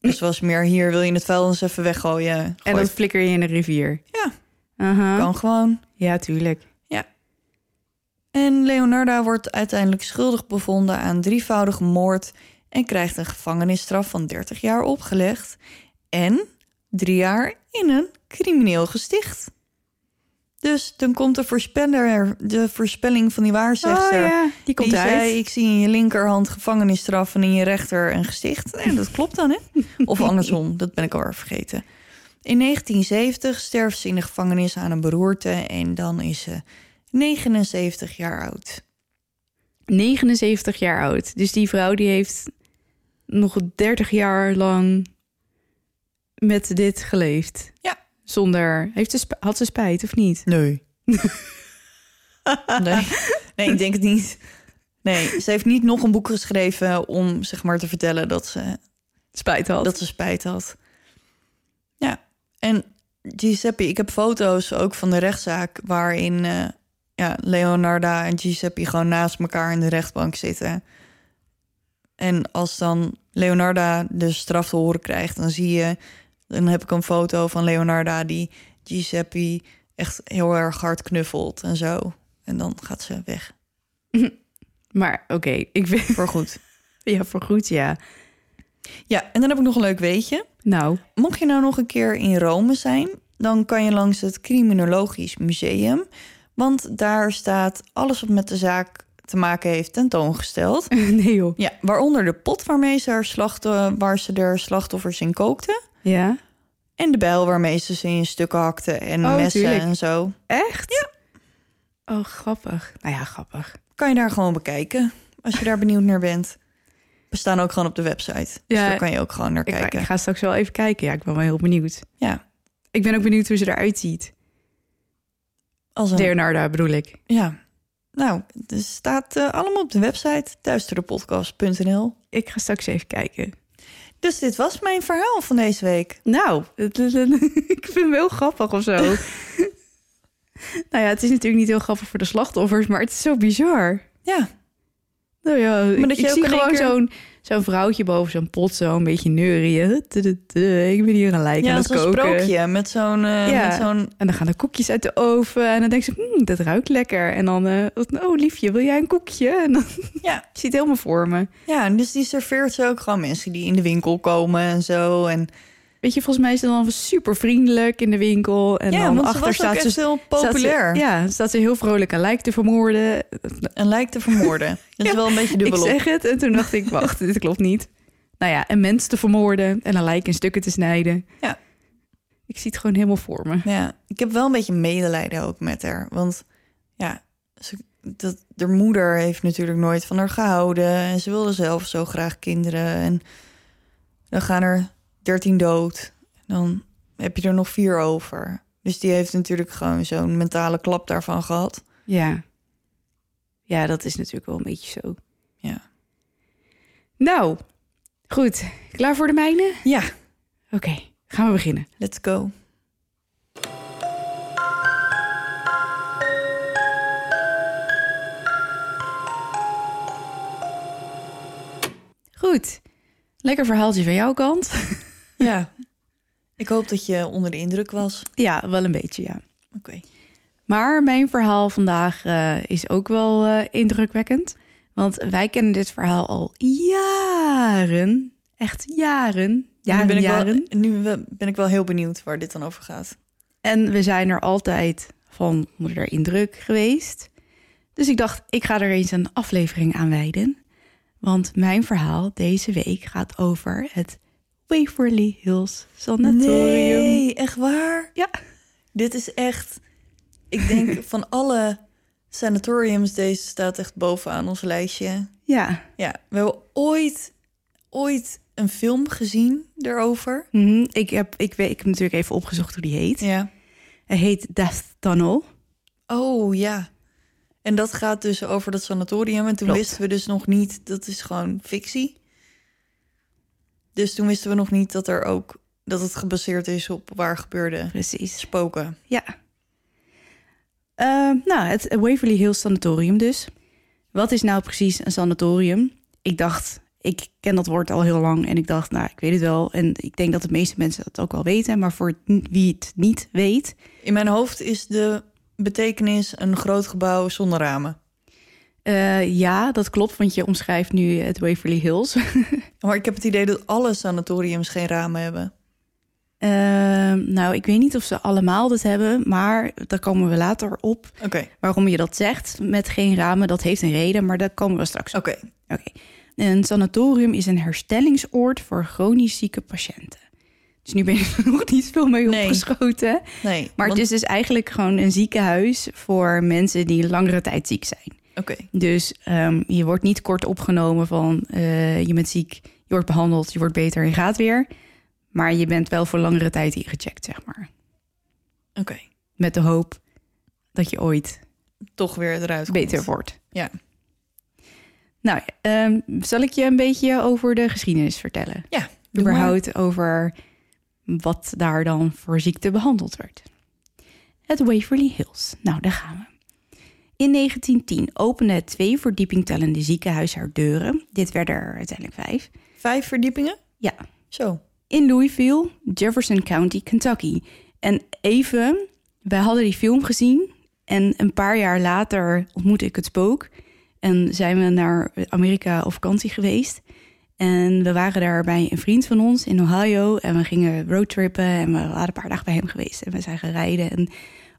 S2: Dus het was meer hier, wil je het vuil eens even weggooien?
S3: En
S2: Gooi
S3: dat flikker je in de rivier.
S2: Ja.
S3: Aha. Oh,
S2: het, kan gewoon.
S3: Ja, tuurlijk.
S2: En Leonarda wordt uiteindelijk schuldig bevonden aan drievoudige moord en krijgt een gevangenisstraf van 30 jaar opgelegd en drie jaar in een crimineel gesticht. Dus dan komt de voorspeller, de voorspelling van die
S3: Oh,
S2: waarzegster.
S3: die komt
S2: die
S3: uit.
S2: zei, ik zie in je linkerhand gevangenisstraf en in je rechter een gesticht. En dat klopt dan, hè? Of andersom, dat ben ik alweer vergeten. In 1970 sterft ze in de gevangenis aan een beroerte en dan is ze 79 jaar oud.
S3: 79 jaar oud. Dus die vrouw die heeft nog 30 jaar lang met dit geleefd.
S2: Ja.
S3: Zonder, heeft ze, sp- had ze spijt of niet?
S2: Nee. Nee. nee, ik denk het niet. Nee, ze heeft niet nog een boek geschreven om zeg maar te vertellen dat ze,
S3: Spijt had.
S2: dat ze spijt had. Ja, en Giuseppe, ik heb foto's ook van de rechtszaak waarin eh, ja, Leonarda en Giuseppe gewoon naast elkaar in de rechtbank zitten. En als dan Leonarda de straf te horen krijgt, dan zie je, dan heb ik een foto van Leonarda die Giuseppe echt heel erg hard knuffelt en zo. En dan gaat ze weg.
S3: Maar oké, ik vind...
S2: Voor goed.
S3: Ja, voorgoed, ja.
S2: Ja, en dan heb ik nog een leuk weetje.
S3: Nou,
S2: Mocht je nou nog een keer in Rome zijn, dan kan je langs het Criminologisch Museum. Want daar staat alles wat met de zaak te maken heeft tentoongesteld.
S3: nee joh.
S2: Ja, waaronder de pot waarmee ze haar slachten, waar ze haar slachtoffers in kookte.
S3: Ja?
S2: En de bijl waarmee ze ze in stukken hakte en
S3: Oh,
S2: messen
S3: tuurlijk.
S2: en zo.
S3: Echt? Ja. Oh, grappig. Nou ja, grappig.
S2: Kan je daar gewoon bekijken, als je daar benieuwd naar bent. We staan ook gewoon op de website, dus
S3: Ja,
S2: daar kan je ook gewoon naar
S3: Ik,
S2: kijken.
S3: ik ga straks wel even kijken. Ja, ik ben wel heel benieuwd.
S2: Ja,
S3: Ik ben ook benieuwd hoe ze eruit ziet.
S2: als een
S3: Leonarda bedoel ik.
S2: Ja. Nou, het staat eh, allemaal op de website duisterepodcast.nl.
S3: Ik ga straks even kijken.
S2: Dus dit was mijn verhaal van deze week.
S3: Nou, het is een- ik vind hem heel grappig of zo. nou ja, het is natuurlijk niet heel grappig voor de slachtoffers, maar het is zo bizar.
S2: Ja,
S3: Nou ja, ik-
S2: dat
S3: ik,
S2: je ook
S3: zie
S2: in één
S3: gewoon
S2: keer-
S3: zo'n zo'n vrouwtje boven zo'n pot zo een beetje neurieën. Tududu, Ik ben hier een lijk
S2: ja
S3: aan het
S2: dat is een
S3: koken.
S2: sprookje met zo'n... eh,
S3: Ja.
S2: met zo'n-
S3: En dan gaan de koekjes uit de oven en dan denkt ze, "Hmm, dat ruikt lekker. En dan, eh, oh liefje, wil jij een koekje? En dan
S2: ja.
S3: ziet helemaal voor me.
S2: ja, en dus die serveert ze ook gewoon mensen die in de winkel komen en zo. En,
S3: Weet je, volgens mij is ze dan super vriendelijk in de winkel. En
S2: ja,
S3: dan
S2: want
S3: achter
S2: ze was
S3: staat
S2: ook
S3: ze
S2: echt heel populair.
S3: Staat ze, ja, staat ze heel vrolijk een lijk te vermoorden.
S2: En lijkt te vermoorden. Dat is
S3: Ja,
S2: wel een beetje dubbel
S3: ik zeg het en toen dacht ik, wacht, dit klopt niet. Nou ja, een mens te vermoorden en een lijk in stukken te snijden.
S2: Ja.
S3: Ik zie het gewoon helemaal voor me.
S2: Ja, ik heb wel een beetje medelijden ook met haar. Want ja, ze, dat, haar moeder heeft natuurlijk nooit van haar gehouden. En ze wilde zelf zo graag kinderen. En dan gaan er dertien dood. Dan heb je er nog vier over. Dus die heeft natuurlijk gewoon zo'n mentale klap daarvan gehad.
S3: Ja. Ja, dat is natuurlijk wel een beetje zo.
S2: Ja.
S3: Nou, goed. Klaar voor de mijne?
S2: Ja,
S3: Oké, gaan we beginnen.
S2: let's go.
S3: Goed. Lekker verhaaltje van jouw kant.
S2: Ja. Ik hoop dat je onder de indruk was.
S3: Ja, wel een beetje, ja.
S2: Oké.
S3: Maar mijn verhaal vandaag eh, is ook wel eh, indrukwekkend. Want wij kennen dit verhaal al jaren. Echt jaren. Jaren,
S2: nu ben ik,
S3: jaren.
S2: Wel, nu we- ben ik wel heel benieuwd waar dit dan over gaat.
S3: En we zijn er altijd van onder de indruk geweest. Dus ik dacht, ik ga er eens een aflevering aan wijden. Want mijn verhaal deze week gaat over het Waverly Hills Sanatorium.
S2: Nee, echt waar?
S3: Ja.
S2: Dit is echt, ik denk van alle sanatoriums, deze staat echt bovenaan ons lijstje.
S3: Ja.
S2: Ja, we hebben ooit, ooit een film gezien daarover.
S3: Mhm. ik, heb, ik, weet, ik heb natuurlijk even opgezocht hoe die heet.
S2: Ja.
S3: Hij heet Death Tunnel.
S2: Oh ja. En dat gaat dus over dat sanatorium. En toen
S3: Klopt.
S2: wisten we dus nog niet, dat is gewoon fictie. Dus toen wisten we nog niet dat er ook, dat het gebaseerd is op waar gebeurde
S3: Precies.
S2: spoken.
S3: Ja. Eh, nou, het Waverly Hills Sanatorium dus. Wat is nou precies een sanatorium? Ik dacht, ik ken dat woord al heel lang en ik dacht, nou, ik weet het wel. En ik denk dat de meeste mensen dat ook wel weten, maar voor wie het niet weet,
S2: In mijn hoofd is de betekenis een groot gebouw zonder ramen.
S3: eh, ja, dat klopt, want je omschrijft nu het Waverly Hills.
S2: Maar ik heb het idee dat alle sanatoriums geen ramen hebben.
S3: Eh, nou, ik weet niet of ze allemaal dat hebben, maar daar komen we later op.
S2: Oké,
S3: Waarom je dat zegt met geen ramen, dat heeft een reden, maar daar komen we straks op.
S2: oké.
S3: Oké. Een sanatorium is een herstellingsoord voor chronisch zieke patiënten. Dus nu ben ik er nog niet veel mee
S2: Nee.
S3: opgeschoten.
S2: Nee,
S3: Maar
S2: want-
S3: het is dus eigenlijk gewoon een ziekenhuis voor mensen die langere tijd ziek zijn.
S2: Oké,
S3: Dus ehm, je wordt niet kort opgenomen van eh, je bent ziek, je wordt behandeld, je wordt beter en je gaat weer. Maar je bent wel voor langere tijd ingecheckt, zeg maar.
S2: oké.
S3: Met de hoop dat je ooit
S2: toch weer eruit komt.
S3: beter wordt.
S2: Ja.
S3: Nou, ehm, zal ik je een beetje over de geschiedenis vertellen?
S2: Ja, doe maar.
S3: überhaupt over wat daar dan voor ziekte behandeld werd. Het Waverly Hills. Nou, daar gaan we. In 1910 opende het twee verdieping tellende ziekenhuis haar deuren. Dit werden er uiteindelijk vijf.
S2: Vijf verdiepingen?
S3: Ja,
S2: Zo.
S3: in Louisville, Jefferson County, Kentucky. En even, wij hadden die film gezien en een paar jaar later ontmoette ik het spook. En zijn we naar Amerika op vakantie geweest. En we waren daar bij een vriend van ons in Ohio. En we gingen roadtrippen en we waren een paar dagen bij hem geweest. En we zijn gaan rijden. En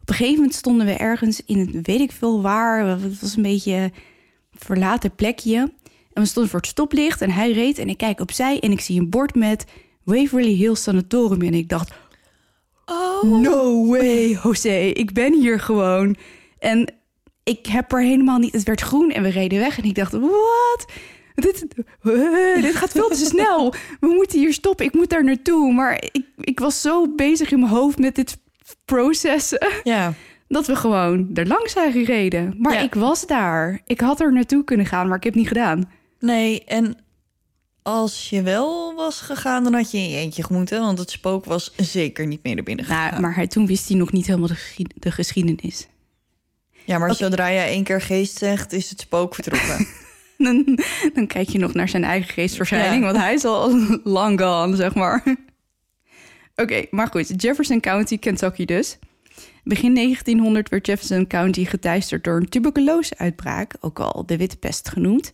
S3: op een gegeven moment stonden we ergens in het weet ik veel waar. Het was een beetje een verlaten plekje. En we stonden voor het stoplicht en hij reed. En ik kijk opzij en ik zie een bord met Waverly Hills Sanatorium. En ik dacht,
S2: Oh.
S3: no way, José, ik ben hier gewoon. En ik heb er helemaal niet... Het werd groen en we reden weg. En ik dacht, wat? Dit, eh, dit gaat veel te snel. We moeten hier stoppen. Ik moet daar naartoe. Maar ik, ik was zo bezig in mijn hoofd met dit processen...
S2: Ja.
S3: dat we gewoon er langs zijn gereden. Maar
S2: Ja.
S3: ik was daar. Ik had er naartoe kunnen gaan, maar ik heb het niet gedaan.
S2: Nee, en als je wel was gegaan, dan had je in je eentje gemoeten. Want het spook was zeker niet meer naar binnen gegaan.
S3: Nou, maar hij, toen wist hij nog niet helemaal de, geschied- de geschiedenis.
S2: Ja, maar zodra je één keer geest zegt, is het spook vertrokken.
S3: dan, dan kijk je nog naar zijn eigen geestverschijning,
S2: Ja.
S3: want hij is al lang gone, zeg maar. Oké, maar goed, Jefferson County, Kentucky dus. Begin 1900 werd Jefferson County geteisterd door een tuberculoseuitbraak, ook al de witte pest genoemd.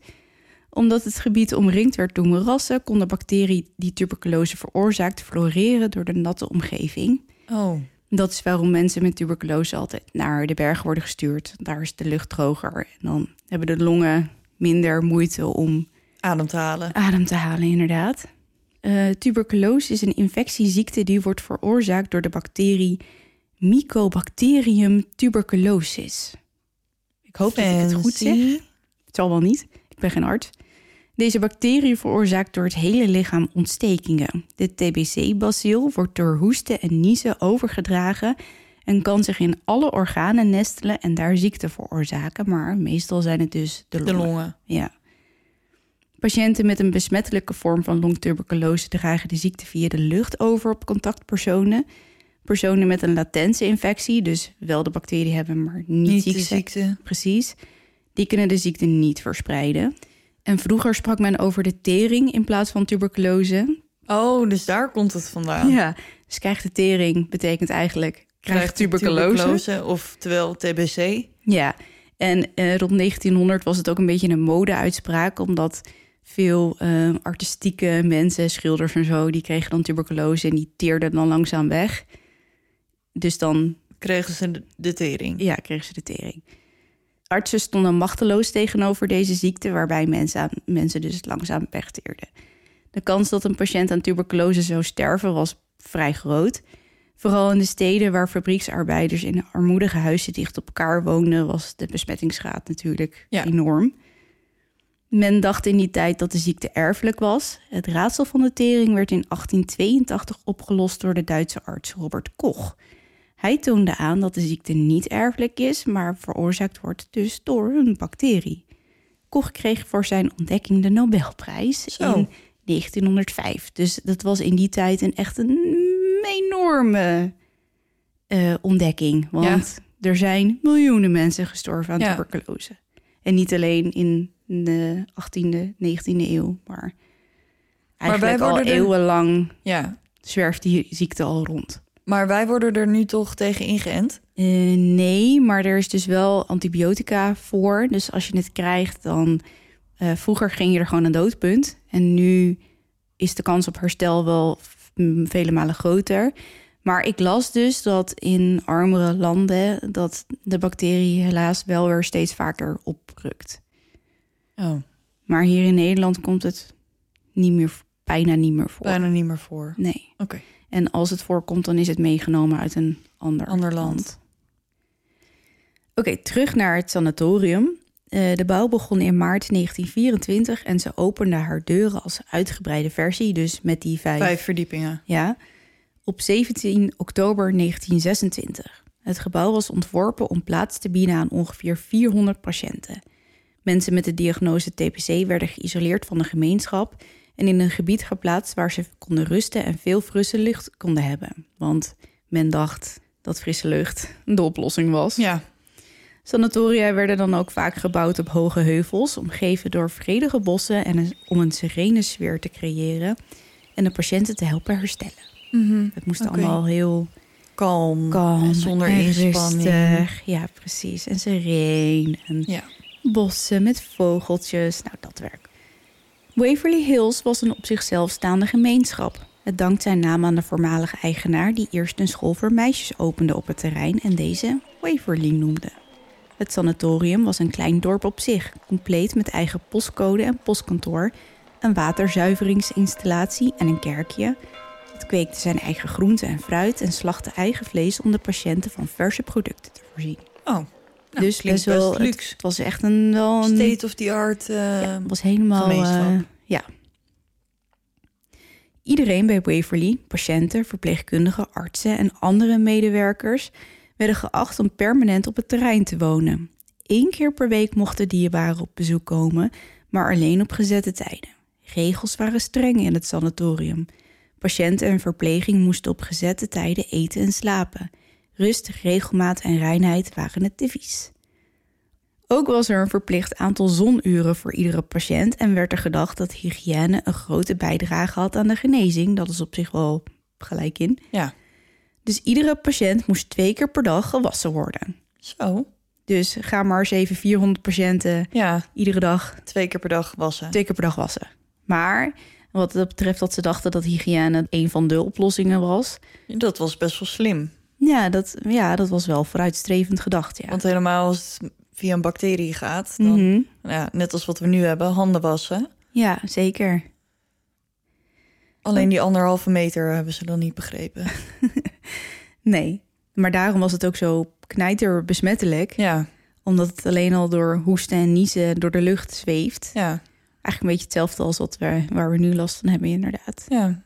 S3: Omdat het gebied omringd werd door moerassen, kon de bacterie die tuberculose veroorzaakt floreren door de natte omgeving.
S2: oh.
S3: Dat is waarom mensen met tuberculose altijd naar de bergen worden gestuurd. Daar is de lucht droger en dan hebben de longen minder moeite om
S2: Adem te halen.
S3: adem te halen, inderdaad. Eh, tuberculose is een infectieziekte die wordt veroorzaakt door de bacterie Mycobacterium tuberculosis. Ik hoop dat ik het goed zeg.
S2: Fancy.
S3: Het zal wel niet, ik ben geen arts. Deze bacterie veroorzaakt door het hele lichaam ontstekingen. De TBC-bacil wordt door hoesten en niezen overgedragen en kan zich in alle organen nestelen en daar ziekte veroorzaken, maar meestal zijn het dus de
S2: De
S3: longen.
S2: longen.
S3: Ja. Patiënten met een besmettelijke vorm van longtuberculose dragen de ziekte via de lucht over op contactpersonen. Personen met een latente infectie, dus wel de bacterie hebben, maar niet,
S2: Niet
S3: ziek
S2: de
S3: zijn,
S2: ziekte.
S3: precies, die kunnen de ziekte niet verspreiden. En vroeger sprak men over de tering in plaats van tuberculose.
S2: Oh, dus daar komt het vandaan.
S3: Ja. Dus krijgt de tering betekent eigenlijk krijgt tuberculose.
S2: Oftewel TBC.
S3: Ja, en eh, rond 1900 was het ook een beetje een mode-uitspraak, omdat veel eh, artistieke mensen, schilders en zo, die kregen dan tuberculose en die teerden dan langzaam weg. Dus dan
S2: Kregen ze de- de tering.
S3: ja, kregen ze de tering. Artsen stonden machteloos tegenover deze ziekte, waarbij mensen, aan, mensen dus langzaam wegteerden. De kans dat een patiënt aan tuberculose zou sterven was vrij groot. Vooral in de steden waar fabrieksarbeiders in armoedige huizen dicht op elkaar woonden, was de besmettingsgraad natuurlijk
S2: Ja.
S3: enorm. Men dacht in die tijd dat de ziekte erfelijk was. Het raadsel van de tering werd in 1882 opgelost door de Duitse arts Robert Koch. Hij toonde aan dat de ziekte niet erfelijk is, maar veroorzaakt wordt dus door een bacterie. Koch kreeg voor zijn ontdekking de Nobelprijs
S2: Zo.
S3: in 1905. Dus dat was in die tijd een echt een enorme eh, ontdekking. Want er zijn miljoenen mensen gestorven aan
S2: Ja.
S3: tuberculose. En niet alleen in de 18e, 19e eeuw, maar eigenlijk al
S2: worden er-
S3: eeuwenlang
S2: Ja.
S3: zwerft die ziekte al rond.
S2: Maar wij worden er nu toch tegen ingeënt?
S3: Eh, nee, maar er is dus wel antibiotica voor. Dus als je het krijgt, dan. eh, vroeger ging je er gewoon aan doodpunt. En nu is de kans op herstel wel v- m, vele malen groter. Maar ik las dus dat in armere landen. dat de bacterie helaas wel weer steeds vaker oprukt.
S2: Oh,
S3: Maar hier in Nederland komt het niet meer, v- bijna niet meer voor.
S2: bijna niet meer voor.
S3: Nee.
S2: Oké.
S3: En als het voorkomt, dan is het meegenomen uit een ander,
S2: Ander land.
S3: Oké, terug naar het sanatorium. Eh, de bouw begon in maart 1924 en ze opende haar deuren als uitgebreide versie, dus met die vijf.
S2: Vijf verdiepingen.
S3: Ja, op 17 oktober 1926. Het gebouw was ontworpen om plaats te bieden aan ongeveer 400 patiënten. Mensen met de diagnose TBC werden geïsoleerd van de gemeenschap en in een gebied geplaatst waar ze konden rusten en veel frisse lucht konden hebben. Want men dacht dat frisse lucht de oplossing was.
S2: Ja.
S3: Sanatoria werden dan ook vaak gebouwd op hoge heuvels, omgeven door vredige bossen en een- om een serene sfeer te creëren en de patiënten te helpen herstellen. Het moest
S2: Oké.
S3: allemaal heel
S2: Mhm. Kalm.
S3: kalm,
S2: Zonder
S3: Mm, en
S2: inspanning.
S3: rustig. Ja, precies. En sereen. En
S2: Ja.
S3: bossen met vogeltjes. Nou, dat werk. Waverly Hills was een op zichzelf staande gemeenschap. Het dankt zijn naam aan de voormalige eigenaar die eerst een school voor meisjes opende op het terrein en deze Waverly noemde. Het sanatorium was een klein dorp op zich, compleet met eigen postcode en postkantoor, een waterzuiveringsinstallatie en een kerkje. Het kweekte zijn eigen groenten en fruit en slachtte eigen vlees om de patiënten van verse producten te voorzien.
S2: Oh. Nou,
S3: dus
S2: klinkt
S3: best wel
S2: best
S3: het-
S2: luxe.
S3: Het was echt een wel een
S2: State of the art. eh,
S3: ja, het was helemaal
S2: gemeenschap.
S3: eh, ja. Iedereen bij Waverly, patiënten, verpleegkundigen, artsen en andere medewerkers werden geacht om permanent op het terrein te wonen. Eén keer per week mochten dierbaren op bezoek komen, maar alleen op gezette tijden. Regels waren streng in het sanatorium. Patiënten en verpleging moesten op gezette tijden eten en slapen. Rust, regelmaat en reinheid waren het devies. Ook was er een verplicht aantal zonuren voor iedere patiënt en werd er gedacht dat hygiëne een grote bijdrage had aan de genezing. Dat is op zich wel gelijk in.
S2: ja.
S3: Dus iedere patiënt moest twee keer per dag gewassen worden.
S2: Zo.
S3: Dus ga maar eens even 400 patiënten
S2: Ja.
S3: iedere dag
S2: Twee keer per dag wassen.
S3: twee keer per dag wassen. Maar wat dat betreft dat ze dachten dat hygiëne een van de oplossingen was.
S2: Dat was best wel slim.
S3: Ja, dat, ja, dat was wel vooruitstrevend gedacht, ja.
S2: Want helemaal als het via een bacterie gaat, dan,
S3: Mhm.
S2: ja, net als wat we nu hebben, handen wassen.
S3: Ja, zeker.
S2: Alleen die anderhalve meter hebben ze dan niet begrepen.
S3: Nee, maar daarom was het ook zo knijterbesmettelijk.
S2: Ja,
S3: Omdat het alleen al door hoesten en niezen door de lucht zweeft.
S2: ja,
S3: Eigenlijk een beetje hetzelfde als wat we, waar we nu last van hebben, inderdaad.
S2: ja.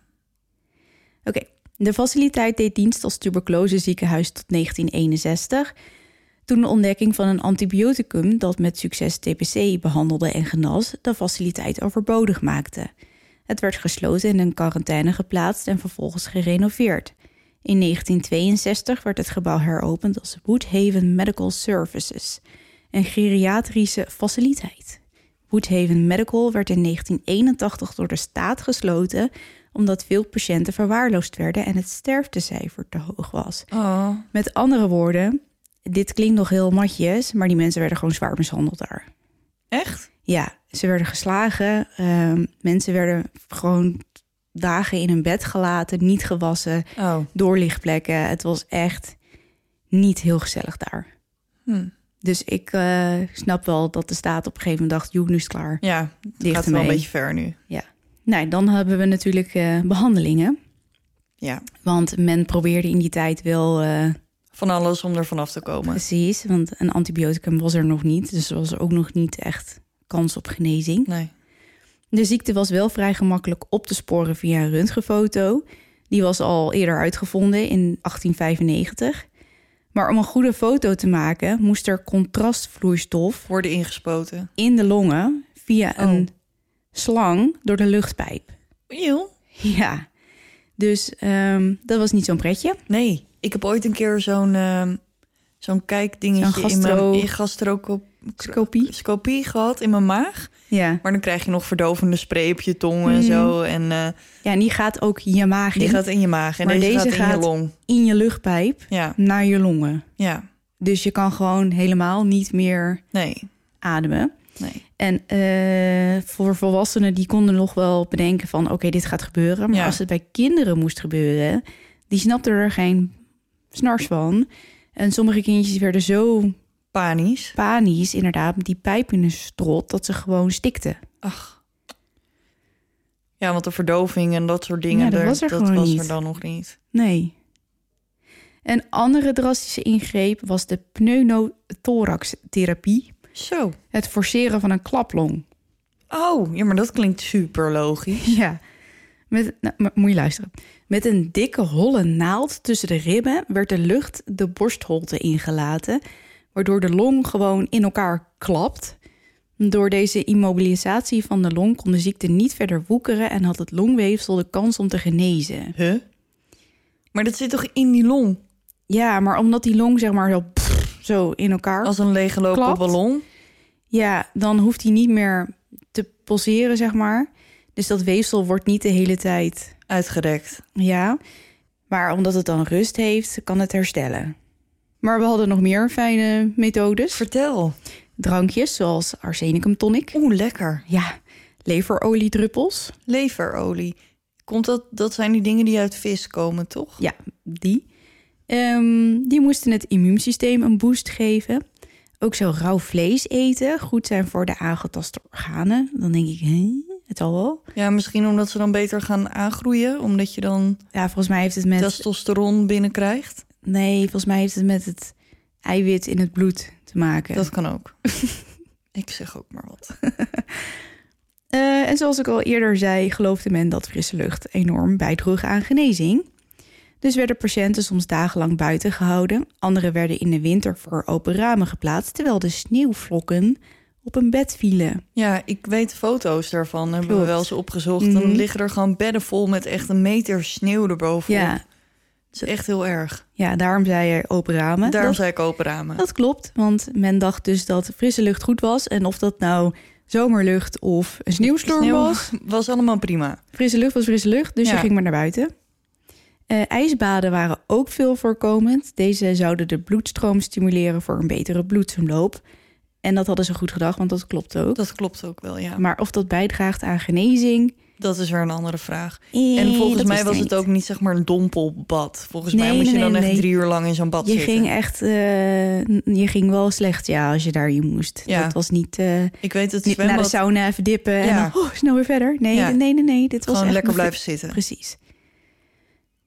S3: Oké, de faciliteit deed dienst als tuberculoseziekenhuis tot 1961. Toen de ontdekking van een antibioticum dat met succes TBC behandelde en genas, de faciliteit overbodig maakte. Het werd gesloten en in quarantaine geplaatst en vervolgens gerenoveerd. In 1962 werd het gebouw heropend als Woodhaven Medical Services, een geriatrische faciliteit. Woodhaven Medical werd in 1981 door de staat gesloten omdat veel patiënten verwaarloosd werden en het sterftecijfer te hoog was.
S2: Oh,
S3: Met andere woorden, dit klinkt nog heel matjes, maar die mensen werden gewoon zwaar mishandeld daar.
S2: echt?
S3: Ja, ze werden geslagen. ehm, mensen werden gewoon dagen in hun bed gelaten, niet gewassen,
S2: Oh,
S3: doorlichtplekken. Het was echt niet heel gezellig daar.
S2: hm.
S3: Dus ik eh, snap wel dat de staat op een gegeven moment dacht, joh, nu is het klaar.
S2: ja, het
S3: Dicht
S2: gaat wel een
S3: ermee.
S2: beetje ver nu.
S3: Nou, dan hebben we natuurlijk eh, behandelingen.
S2: Ja,
S3: Want men probeerde in die tijd wel... eh,
S2: van alles om er vanaf te komen.
S3: Precies, want een antibioticum was er nog niet. Dus er was ook nog niet echt kans op genezing.
S2: Nee.
S3: De ziekte was wel vrij gemakkelijk op te sporen via een röntgenfoto. Die was al eerder uitgevonden in 1895. Maar om een goede foto te maken moest er contrastvloeistof
S2: Worden ingespoten.
S3: in de longen via
S2: Oh.
S3: een slang door de luchtpijp.
S2: Eeuw.
S3: Ja, dus ehm, dat was niet zo'n pretje.
S2: Nee, ik heb ooit een keer zo'n ehm, zo'n kijkdingetje
S3: Een
S2: in mijn
S3: gastro-
S2: in gastroscopie
S3: Scopie.
S2: gehad in mijn maag.
S3: Ja.
S2: Maar dan krijg je nog verdovende spray op je tong en zo. En eh,
S3: ja, en die gaat ook je maag
S2: die
S3: in,
S2: gaat in je maag en
S3: Maar
S2: deze,
S3: deze
S2: gaat in
S3: gaat-
S2: je long.
S3: in je luchtpijp
S2: Ja,
S3: naar je longen.
S2: ja.
S3: Dus je kan gewoon helemaal niet meer
S2: Nee,
S3: ademen.
S2: nee.
S3: En eh, voor volwassenen die konden nog wel bedenken van oké, dit gaat gebeuren. Maar
S2: Ja.
S3: als het bij kinderen moest gebeuren, die snapten er geen snars van. En sommige kindjes werden zo
S2: Panisch.
S3: panisch, inderdaad, met die pijp in hun strot, dat ze gewoon stikten.
S2: Ach. Ja, want de verdoving en dat soort dingen,
S3: Ja, dat
S2: daar-
S3: was er gewoon
S2: was
S3: niet.
S2: er dan nog niet.
S3: Nee. Een andere drastische ingreep was de pneumothorax-therapie.
S2: Zo.
S3: Het forceren van een klaplong.
S2: Oh, ja, maar dat klinkt super logisch.
S3: Ja, Met, nou, maar moet je luisteren. Met een dikke holle naald tussen de ribben werd de lucht de borstholte ingelaten, waardoor de long gewoon in elkaar klapt. Door deze immobilisatie van de long kon de ziekte niet verder woekeren en had het longweefsel de kans om te genezen.
S2: Huh? Maar dat zit toch in die long?
S3: Ja, maar omdat die long zeg maar zo, pff, zo in elkaar
S2: Als een leeggelopen
S3: Klapt.
S2: ballon?
S3: Ja, dan hoeft hij niet meer te pulseren, zeg maar. Dus dat weefsel wordt niet de hele tijd.
S2: Uitgerekt.
S3: Ja. Maar omdat het dan rust heeft, kan het herstellen. Maar we hadden nog meer fijne methodes.
S2: Vertel.
S3: Drankjes zoals arsenicum tonic.
S2: Oeh, lekker.
S3: Ja, leveroliedruppels.
S2: Leverolie. Komt dat, dat zijn die dingen die uit vis komen, toch?
S3: Ja, die. Ehm, die moesten het immuunsysteem een boost geven. Ook zou rauw vlees eten goed zijn voor de aangetaste organen. Dan denk ik, hè, het al wel.
S2: Ja, misschien omdat ze dan beter gaan aangroeien. Omdat je dan
S3: Ja, volgens mij heeft het met...
S2: testosteron binnenkrijgt.
S3: Nee, volgens mij heeft het met het eiwit in het bloed te maken.
S2: Dat kan ook. ik zeg ook maar wat.
S3: Eh, en zoals ik al eerder zei, geloofde men dat frisse lucht enorm bijdroeg aan genezing. Dus werden patiënten soms dagenlang buiten gehouden. Anderen werden in de winter voor open ramen geplaatst, terwijl de sneeuwvlokken op een bed vielen.
S2: Ja, ik weet foto's daarvan. Hebben we
S3: Klopt.
S2: wel eens opgezocht.
S3: Mhm.
S2: Dan liggen er gewoon bedden vol met echt een meter sneeuw erboven.
S3: Ja,
S2: Het is echt heel erg.
S3: ja, daarom zei je open ramen.
S2: Daarom
S3: dat, Oh,
S2: zei ik open ramen.
S3: dat klopt, want men dacht dus dat frisse lucht goed was. En of dat nou zomerlucht of een sneeuwstorm
S2: Sneeuw
S3: was,
S2: was allemaal prima.
S3: Frisse lucht was frisse lucht, dus
S2: Ja.
S3: je ging maar naar buiten. Eh, ijsbaden waren ook veel voorkomend. Deze zouden de bloedstroom stimuleren voor een betere bloedsomloop. En dat hadden ze goed gedacht, want dat klopt ook.
S2: Dat klopt ook wel, ja.
S3: Maar of dat bijdraagt aan genezing...
S2: Dat is weer een andere vraag.
S3: eh,
S2: En volgens
S3: dat
S2: mij
S3: wist
S2: was
S3: ik
S2: het ook niet zeg maar een dompelbad. Volgens mij
S3: Nee,
S2: moest je
S3: nee,
S2: dan echt
S3: nee.
S2: drie uur lang in zo'n bad
S3: Je
S2: zitten.
S3: ging echt... eh, n- je ging wel slecht, ja, als je daarin moest.
S2: Ja.
S3: Dat was niet, eh,
S2: Ik weet het
S3: niet naar de
S2: zwembad
S3: sauna even dippen en
S2: Ja.
S3: dan oh, snel weer verder. Nee,
S2: Ja.
S3: nee, nee, nee, nee. Dit was
S2: gewoon
S3: echt
S2: lekker
S3: mijn-
S2: blijven zitten.
S3: Precies.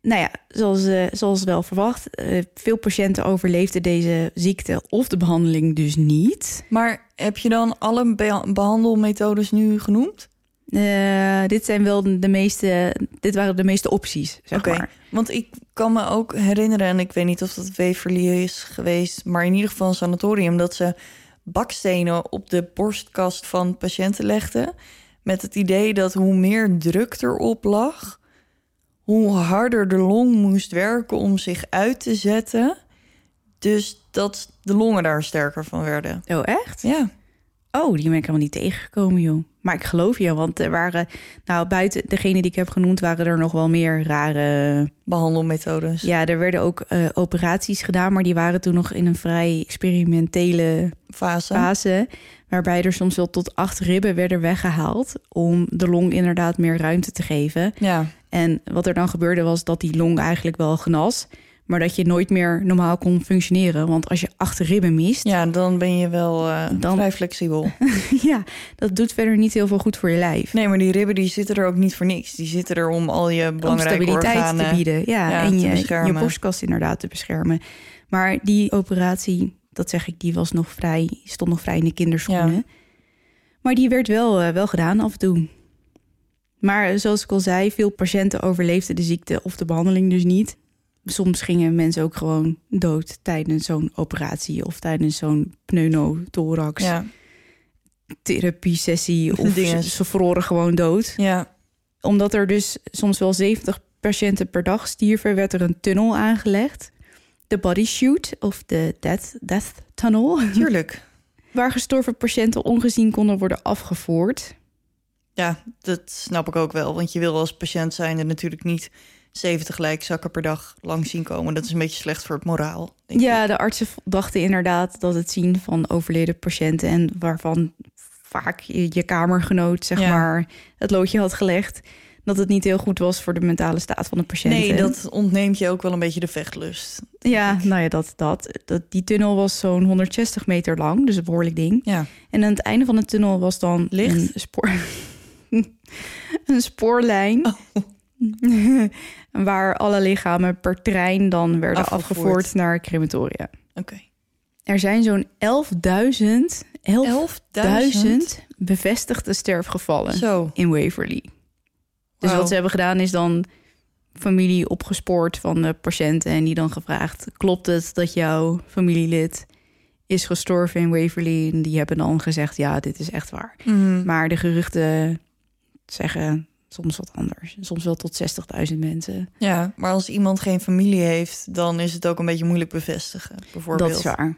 S3: Nou ja, zoals, eh, zoals wel verwacht, eh, veel patiënten overleefden deze ziekte of de behandeling dus niet.
S2: Maar heb je dan alle be- behandelmethodes nu genoemd?
S3: Eh, dit zijn wel de meeste, dit waren de meeste opties, zeg
S2: Oké.
S3: maar.
S2: Want ik kan me ook herinneren, en ik weet niet of dat Waverly is geweest, maar in ieder geval een sanatorium, dat ze bakstenen op de borstkast van patiënten legden. Met het idee dat hoe meer druk erop lag, hoe harder de long moest werken om zich uit te zetten. Dus dat de longen daar sterker van werden.
S3: Oh, echt?
S2: Ja,
S3: Oh, die ben ik helemaal niet tegengekomen, joh. Maar ik geloof je, want er waren, nou, buiten degene die ik heb genoemd, waren er nog wel meer rare.
S2: behandelmethodes.
S3: Ja, er werden ook eh, operaties gedaan, maar die waren toen nog in een vrij experimentele
S2: Fase.
S3: fase waarbij er soms wel tot acht ribben werden weggehaald om de long inderdaad meer ruimte te geven.
S2: Ja,
S3: En wat er dan gebeurde was dat die long eigenlijk wel genas, maar dat je nooit meer normaal kon functioneren, want als je acht ribben mist, ja,
S2: ja, dan ben je wel eh,
S3: Dan-
S2: vrij flexibel.
S3: dat doet verder niet heel veel goed voor je lijf.
S2: Nee, maar die ribben die zitten er ook niet voor niks. Die zitten er om al je
S3: om
S2: belangrijke
S3: stabiliteit
S2: organen...
S3: te bieden, ja,
S2: ja, te
S3: en je, je
S2: beschermen.
S3: borstkast inderdaad te beschermen. Maar die operatie, dat zeg ik, die was nog vrij, stond nog vrij in de kinderschoenen.
S2: Ja.
S3: Maar die werd wel, eh, wel gedaan af en toe. Maar eh, zoals ik al zei, veel patiënten overleefden de ziekte of de behandeling dus niet. Soms gingen mensen ook gewoon dood tijdens zo'n operatie of tijdens zo'n pneumothorax
S2: Ja,
S3: therapie sessie of
S2: Dingen.
S3: ze, ze vroren gewoon dood.
S2: ja,
S3: Omdat er dus soms wel 70 patiënten per dag stierven, werd er een tunnel aangelegd. De body chute of de death, death tunnel
S2: tuurlijk.
S3: waar gestorven patiënten ongezien konden worden afgevoerd.
S2: Ja, dat snap ik ook wel. Want je wil als patiënt zijn er natuurlijk niet 70 lijkzakken per dag lang zien komen. Dat is een beetje slecht voor het moraal. denk ik.
S3: Ja, de artsen v- dachten inderdaad dat het zien van overleden patiënten en waarvan vaak je, je kamergenoot zeg
S2: Ja.
S3: maar het loodje had gelegd, dat het niet heel goed was voor de mentale staat van de patiënten.
S2: Nee, dat ontneemt je ook wel een beetje de vechtlust.
S3: Ja, nou ja, dat, dat, dat. Die tunnel was zo'n 160 meter lang, dus een behoorlijk ding.
S2: Ja,
S3: En aan het einde van de tunnel was dan
S2: Licht?
S3: een, spoor... een spoorlijn. Oh. waar alle lichamen per trein dan werden
S2: Afgevoerd.
S3: afgevoerd, naar crematoria.
S2: oké.
S3: Er zijn zo'n 11.000 11.000
S2: 11.000?
S3: bevestigde sterfgevallen
S2: Zo,
S3: in Waverly. Dus
S4: Wauw.
S3: wat ze hebben gedaan is dan familie opgespoord van de patiënten en die dan gevraagd: klopt het dat jouw familielid is gestorven in Waverly? En die hebben dan gezegd: ja, dit is echt waar.
S2: Mhm.
S3: Maar de geruchten zeggen soms wat anders. Soms wel tot 60.000 mensen.
S2: Ja, maar als iemand geen familie heeft, dan is het ook een beetje moeilijk bevestigen, bijvoorbeeld.
S3: Dat is waar.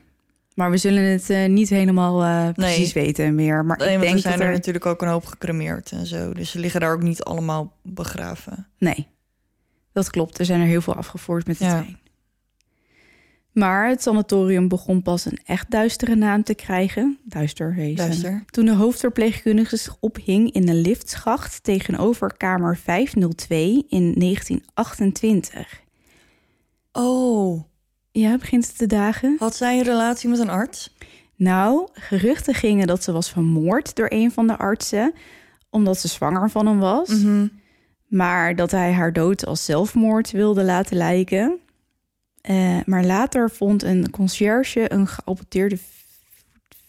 S3: Maar we zullen het eh, niet helemaal eh, precies weten meer. Maar
S2: Nee,
S3: ik
S2: want
S3: denk
S2: er zijn
S3: dat
S2: er
S3: er...
S2: natuurlijk ook een hoop gecremeerd en zo. Dus ze liggen daar ook niet allemaal begraven.
S3: Nee, dat klopt. Er zijn er heel veel afgevoerd met de
S2: Ja.
S3: trein. Maar het sanatorium begon pas een echt duistere naam te krijgen. Duister heet ze.
S2: Luister.
S3: Toen de hoofdverpleegkundige zich ophing in een liftschacht tegenover kamer 502 in 1928.
S2: Oh,
S3: Ja, begint het te dagen?
S2: had zij een relatie met een arts?
S3: Nou, geruchten gingen dat ze was vermoord door een van de artsen, omdat ze zwanger van hem was.
S2: Mhm.
S3: Maar dat hij haar dood als zelfmoord wilde laten lijken. Eh, maar later vond een conciërge een geaborteerde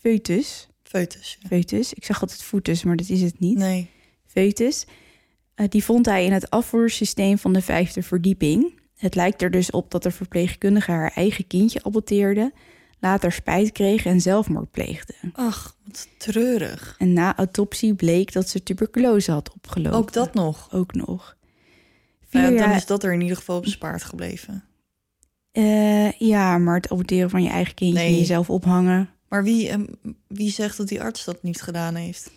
S3: foetus.
S2: Foetus. ja.
S3: Foetus, ik zag altijd foetus, maar dat is het niet.
S2: Nee.
S3: Foetus. Eh, die vond hij in het afvoersysteem van de vijfde verdieping. Het lijkt er dus op dat de verpleegkundige haar eigen kindje aborteerde, later spijt kreeg en zelfmoord pleegde.
S2: Ach, wat treurig.
S3: En na autopsie bleek dat ze tuberculose had opgelopen.
S2: Ook dat nog.
S3: Ook nog. Vier
S2: Ja, dan
S3: jaar-
S2: is dat er in ieder geval bespaard gebleven.
S3: Eh, ja, maar het aborteren van je eigen kindje
S2: Nee.
S3: en jezelf ophangen.
S2: Maar wie, ehm, wie zegt dat die arts dat niet gedaan heeft?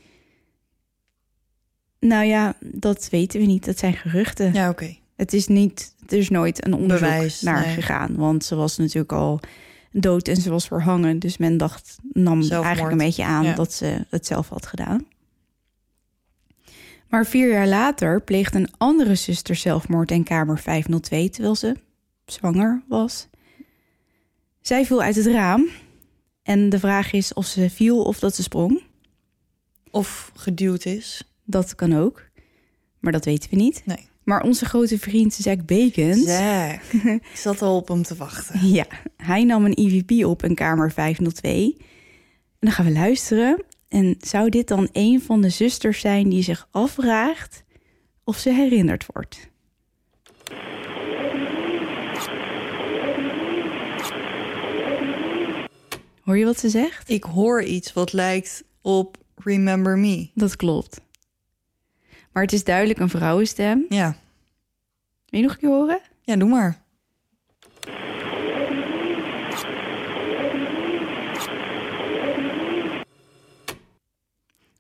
S3: Nou ja, dat weten we niet. Dat zijn geruchten.
S2: Ja, oké.
S3: Het is niet, er is nooit een onderzoek
S2: Bewijs,
S3: naar
S2: nee.
S3: gegaan. Want ze was natuurlijk al dood en ze was verhangen. Dus men dacht, nam
S2: Zelfmoord.
S3: eigenlijk een beetje aan
S2: Ja.
S3: dat ze het zelf had gedaan. Maar vier jaar later pleegde een andere zuster zelfmoord in kamer 502 terwijl ze zwanger was. Zij viel uit het raam. En de vraag is of ze viel of dat ze sprong.
S2: Of geduwd is.
S3: Dat kan ook. Maar dat weten we niet.
S2: Nee.
S3: Maar onze grote vriend Zack Bacon.
S2: Zack. Ik zat al op hem te wachten.
S3: Ja, hij nam een EVP op in kamer 502. En dan gaan we luisteren. En zou dit dan een van de zusters zijn die zich afvraagt of ze herinnerd wordt? Hoor je wat ze zegt?
S2: Ik hoor iets wat lijkt op Remember Me.
S3: Dat klopt. Maar het is duidelijk een vrouwenstem.
S2: Ja.
S3: Wil je nog een keer horen?
S2: Ja, doe maar.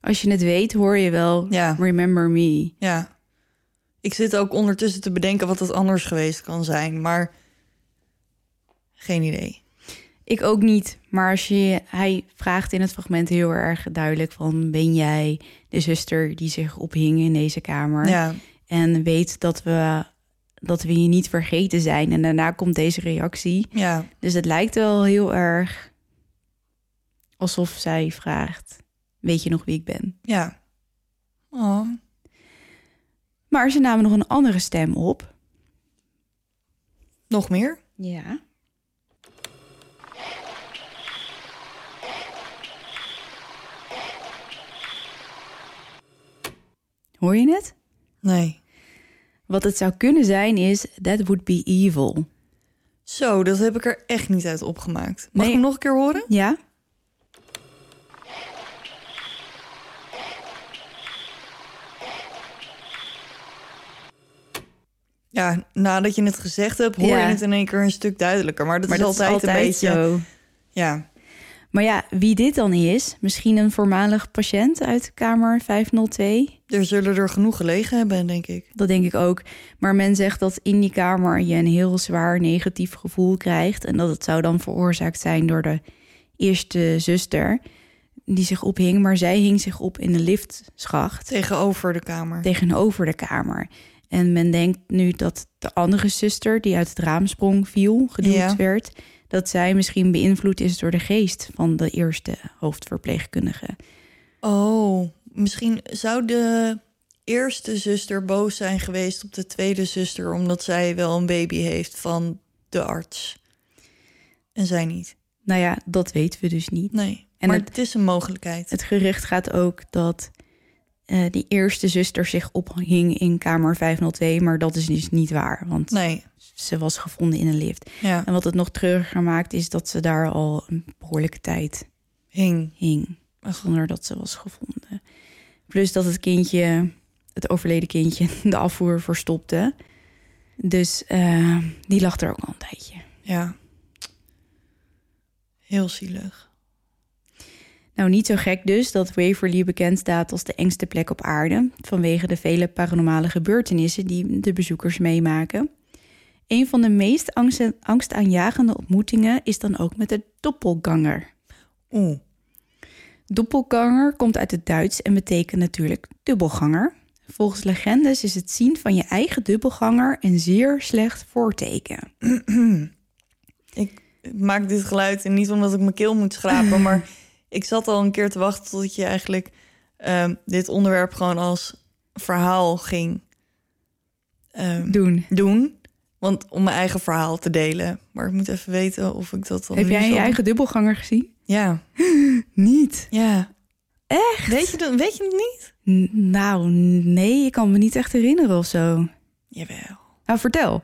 S3: Als je het weet, hoor je wel
S2: Ja.
S3: Remember Me.
S2: Ja. Ik zit ook ondertussen te bedenken wat het anders geweest kan zijn, maar geen idee.
S3: Ik ook niet. Maar als je, hij vraagt in het fragment heel erg duidelijk van... ben jij de zuster die zich ophing in deze kamer?
S2: Ja,
S3: En weet dat we, dat we je niet vergeten zijn. En daarna komt deze reactie.
S2: ja,
S3: Dus het lijkt wel heel erg alsof zij vraagt... weet je nog wie ik ben?
S2: ja. Oh,
S3: Maar ze namen nog een andere stem op.
S2: nog meer?
S3: Ja. Hoor je het?
S2: Nee.
S3: Wat het zou kunnen zijn is, that would be evil.
S2: Zo, dat heb ik er echt niet uit opgemaakt. Mag
S3: Nee.
S2: ik hem nog een keer horen?
S3: Ja?
S2: Ja, nadat je het gezegd hebt, hoor
S3: Ja.
S2: je het in één keer een stuk duidelijker. Maar dat,
S3: Maar
S2: is,
S3: dat
S2: altijd een beetje.
S3: zo.
S2: Ja,
S3: Maar ja, wie dit dan is, misschien een voormalig patiënt uit kamer 502.
S2: er zullen er genoeg gelegen hebben, denk ik.
S3: Dat denk ik ook. Maar men zegt dat in die kamer je een heel zwaar negatief gevoel krijgt. En dat het zou dan veroorzaakt zijn door de eerste zuster die zich ophing. Maar zij hing zich op in de liftschacht
S2: Tegenover de kamer.
S3: tegenover de kamer. En men denkt nu dat de andere zuster die uit het raam sprong viel, geduwd
S2: Ja.
S3: werd, dat zij misschien beïnvloed is door de geest van de eerste hoofdverpleegkundige.
S2: Oh, misschien zou de eerste zuster boos zijn geweest op de tweede zuster omdat zij wel een baby heeft van de arts. En zij niet.
S3: Nou ja, dat weten we dus niet.
S2: Nee.
S3: En
S2: maar
S3: het-
S2: het, is een mogelijkheid.
S3: Het gerucht gaat ook dat eh, die eerste zuster zich ophing in kamer 502. Maar dat is dus niet waar, want
S5: Nee,
S3: ze was gevonden in een lift.
S5: ja.
S3: En wat het nog treuriger maakt, is dat ze daar al een behoorlijke tijd
S5: Hing.
S3: hing.
S5: Ach.
S3: Zonder dat ze was gevonden. Plus dat het kindje, het overleden kindje, de afvoer verstopte. Dus eh, die lag er ook al een tijdje.
S5: Ja. Heel zielig.
S3: Nou, niet zo gek dus dat Waverly bekend staat als de engste plek op aarde... vanwege de vele paranormale gebeurtenissen die de bezoekers meemaken. Een van de meest angst- angstaanjagende ontmoetingen is dan ook met de doppelganger.
S5: Oeh.
S3: Doppelganger komt uit het Duits en betekent natuurlijk dubbelganger. Volgens legendes is het zien van je eigen dubbelganger een zeer slecht voorteken.
S5: Ik maak dit geluid en niet omdat ik mijn keel moet schrapen, maar ik zat al een keer te wachten tot je eigenlijk ehm, dit onderwerp gewoon als verhaal ging ehm,
S3: Doen.
S2: Oh,
S5: doen. Want om mijn eigen verhaal te delen. Maar ik moet even weten of ik dat dan.
S3: Heb
S5: nu
S3: jij je
S5: zal-
S3: eigen dubbelganger gezien?
S5: Ja.
S3: Niet.
S5: Ja. Echt? Weet je, dat, weet je het niet?
S3: nou, nee, ik kan me niet echt herinneren of zo.
S5: Jawel.
S3: Nou, vertel.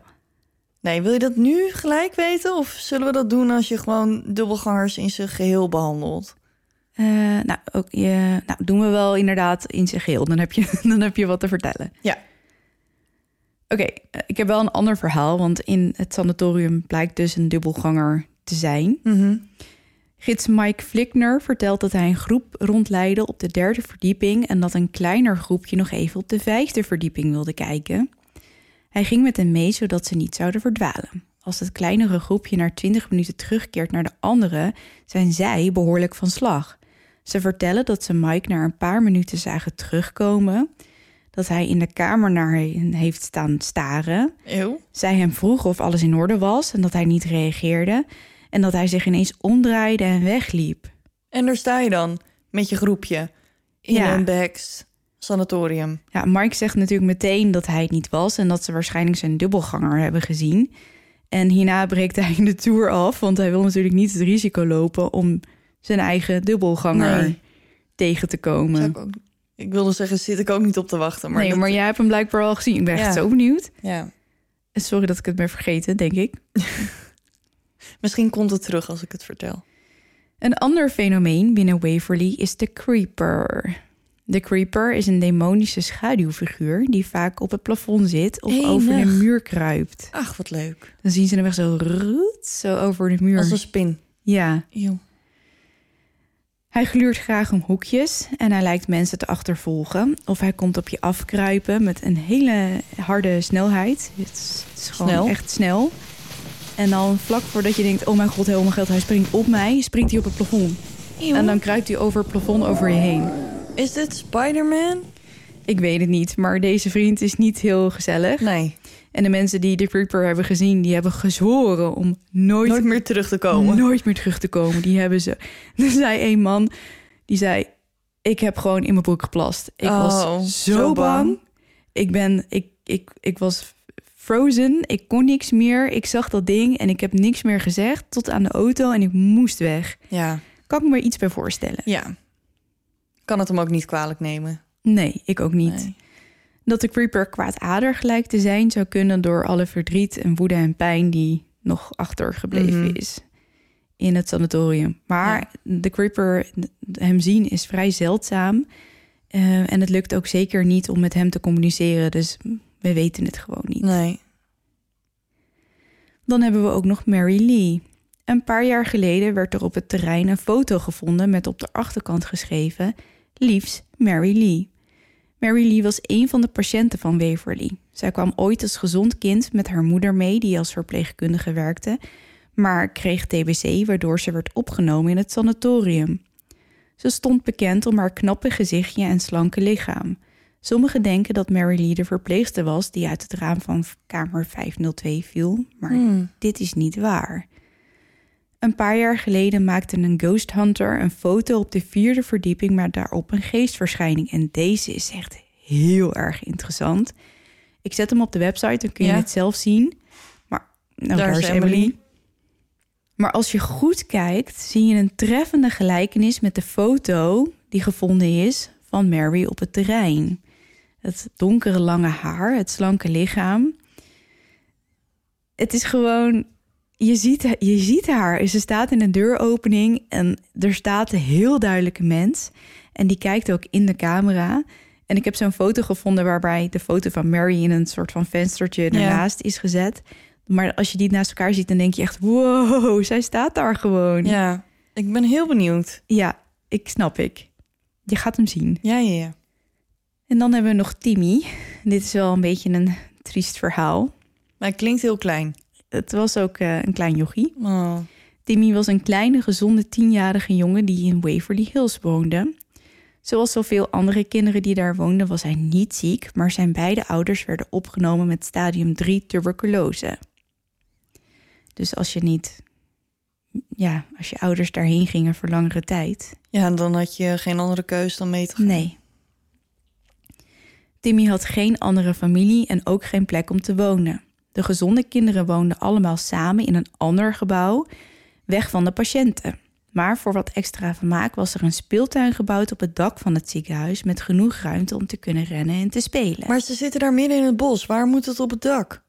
S5: Nee, wil je dat nu gelijk weten? Of zullen we dat doen als je gewoon dubbelgangers in zijn geheel behandelt?
S3: Eh, nou, ook, je, nou, doen we wel inderdaad in zijn geheel. Dan heb je, dan heb je wat te vertellen.
S5: Ja.
S3: Oké, eh, ik heb wel een ander verhaal. Want in het sanatorium blijkt dus een dubbelganger te zijn.
S5: Mhm.
S3: Gids Mike Flickner vertelt dat hij een groep rondleidde op de derde verdieping en dat een kleiner groepje nog even op de vijfde verdieping wilde kijken. Hij ging met hen mee zodat ze niet zouden verdwalen. Als het kleinere groepje na 20 minuten terugkeert naar de andere, zijn zij behoorlijk van slag. Ze vertellen dat ze Mike na een paar minuten zagen terugkomen, dat hij in de kamer naar hen heeft staan staren
S5: Eeuw.
S3: zij hem vroeg of alles in orde was en dat hij niet reageerde. En dat hij zich ineens omdraaide en wegliep.
S5: En daar sta je dan met je groepje in
S3: Ja.
S5: een beks sanatorium.
S3: Ja, Mike zegt natuurlijk meteen dat hij het niet was en dat ze waarschijnlijk zijn dubbelganger hebben gezien. En hierna breekt hij de tour af, want hij wil natuurlijk niet het risico lopen om zijn eigen dubbelganger
S5: Nee.
S3: tegen te komen.
S5: Zou Ik, ook, ik wilde zeggen, zit ik ook niet op te wachten. Maar
S3: nee,
S5: dat-
S3: maar jij hebt hem blijkbaar al gezien. Ik ben
S5: Ja.
S3: echt zo benieuwd.
S5: ja.
S3: Sorry dat ik het ben vergeten, denk ik.
S5: Misschien komt het terug als ik het vertel.
S3: Een ander fenomeen binnen Waverly is de Creeper. De Creeper is een demonische schaduwfiguur die vaak op het plafond zit of
S5: Enig.
S3: over de muur kruipt.
S5: Ach, wat leuk.
S3: Dan zien ze hem echt zo roet, zo over de muur.
S5: Als een spin.
S3: Ja.
S5: Eeuw.
S3: Hij gluurt graag om hoekjes en hij lijkt mensen te achtervolgen. Of hij komt op je afkruipen met een hele harde snelheid. Het is, het is gewoon
S5: Snel.
S3: echt snel. En dan vlak voordat je denkt, oh mijn god, helemaal geld, hij springt op mij, springt hij op het plafond. En dan kruipt hij over het plafond over je heen.
S5: Is dit Spider-Man?
S3: Ik weet het niet, maar deze vriend is niet heel gezellig.
S5: Nee.
S3: En de mensen die de Creeper hebben gezien, die hebben gezworen om nooit,
S5: Nooit meer terug te komen.
S3: nooit meer terug te komen. Die hebben ze. Er zei een man, die zei: Ik heb gewoon in mijn broek geplast. Ik
S5: Oh,
S3: was zo,
S5: zo bang.
S3: bang. Ik ben, ik, ik, ik was frozen. Ik kon niks meer. Ik zag dat ding en ik heb niks meer gezegd tot aan de auto en ik moest weg.
S5: Ja.
S3: Kan ik me er iets bij voorstellen?
S5: Ja. Kan het hem ook niet kwalijk nemen.
S3: Nee, ik ook niet.
S5: Nee.
S3: Dat de creeper kwaadaardig lijkt te zijn zou kunnen door alle verdriet en woede en pijn die nog achtergebleven
S5: Mhm.
S3: is in het sanatorium. Maar de creeper, hem zien is vrij zeldzaam eh, en het lukt ook zeker niet om met hem te communiceren, dus we weten het gewoon niet.
S5: Nee.
S3: Dan hebben we ook nog Mary Lee. Een paar jaar geleden werd er op het terrein een foto gevonden met op de achterkant geschreven: Liefs Mary Lee. Mary Lee was een van de patiënten van Waverly. Zij kwam ooit als gezond kind met haar moeder mee, die als verpleegkundige werkte, maar kreeg TBC, waardoor ze werd opgenomen in het sanatorium. Ze stond bekend om haar knappe gezichtje en slanke lichaam. Sommigen denken dat Mary Lee de verpleegster was die uit het raam van kamer 502 viel, maar dit is niet waar. Een paar jaar geleden maakte een ghost hunter een foto op de vierde verdieping maar daarop een geestverschijning. En deze is echt heel erg interessant. Ik zet hem op de website, dan kun je
S5: Ja.
S3: het zelf zien. Maar nou, daar, is Emily. Maar als je goed kijkt, zie je een treffende gelijkenis met de foto die gevonden is van Mary op het terrein. Het donkere lange haar, het slanke lichaam. Het is gewoon, je ziet, je ziet haar. Ze staat in een deuropening en er staat een heel duidelijke mens. En die kijkt ook in de camera. En ik heb zo'n foto gevonden waarbij de foto van Mary in een soort van venstertje ernaast is gezet. Maar als je die naast elkaar ziet, dan denk je echt: wow, zij staat daar gewoon.
S5: Ja, ik ben heel benieuwd.
S3: Ja, ik snap ik. Je gaat hem zien.
S5: Ja, ja, ja.
S3: En dan hebben we nog Timmy. Dit is wel een beetje een triest verhaal.
S5: Maar hij klinkt heel klein.
S3: Het was ook eh, een klein jochie.
S5: Oh.
S3: Timmy was een kleine, gezonde tienjarige jongen die in Waverly Hills woonde. Zoals zoveel andere kinderen die daar woonden, was hij niet ziek, maar zijn beide ouders werden opgenomen met stadium 3 tuberculose. Dus als je niet, ja, als je ouders daarheen gingen voor langere tijd.
S5: Ja, en dan had je geen andere keus dan mee te gaan.
S3: Nee. Timmy had geen andere familie en ook geen plek om te wonen. De gezonde kinderen woonden allemaal samen in een ander gebouw, weg van de patiënten. Maar voor wat extra vermaak was er een speeltuin gebouwd op het dak van het ziekenhuis met genoeg ruimte om te kunnen rennen en te spelen.
S5: Maar ze zitten daar midden in het bos. Waar moet het op het dak?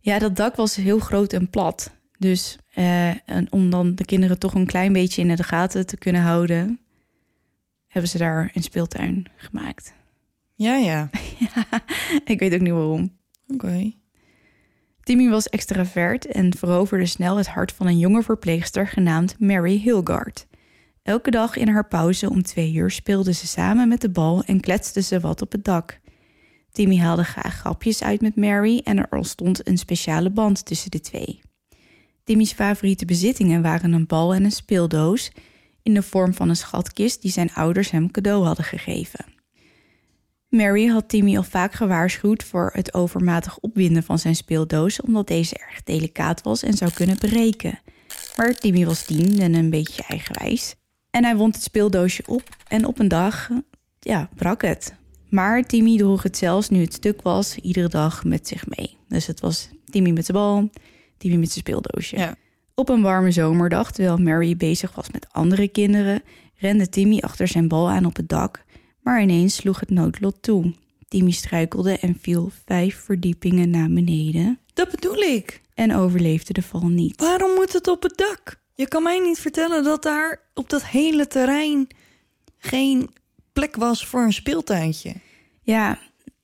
S3: Ja, dat dak was heel groot en plat. Dus eh, en om dan de kinderen toch een klein beetje in de gaten te kunnen houden, hebben ze daar een speeltuin gemaakt.
S5: Ja, ja.
S3: Ik weet ook niet waarom.
S5: Oké.
S3: Timmy was extravert en veroverde snel het hart van een jonge verpleegster genaamd Mary Hilgard. Elke dag in haar pauze om twee uur speelden ze samen met de bal en kletsten ze wat op het dak. Timmy haalde graag grapjes uit met Mary en er ontstond een speciale band tussen de twee. Timmy's favoriete bezittingen waren een bal en een speeldoos in de vorm van een schatkist die zijn ouders hem cadeau hadden gegeven. Mary had Timmy al vaak gewaarschuwd voor het overmatig opwinden van zijn speeldoos, omdat deze erg delicaat was en zou kunnen breken. Maar Timmy was tien en een beetje eigenwijs. En hij wond het speeldoosje op en op een dag, ja, brak het. Maar Timmy droeg het zelfs nu het stuk was, iedere dag met zich mee. Dus het was Timmy met zijn bal, Timmy met zijn speeldoosje.
S5: Ja.
S3: Op een warme zomerdag, terwijl Mary bezig was met andere kinderen, rende Timmy achter zijn bal aan op het dak maar ineens sloeg het noodlot toe. Timmy struikelde en viel vijf verdiepingen naar beneden
S5: Dat bedoel ik.
S3: en overleefde de val niet.
S5: Waarom moet het op het dak? Je kan mij niet vertellen dat daar op dat hele terrein geen plek was voor een speeltuintje.
S3: Ja,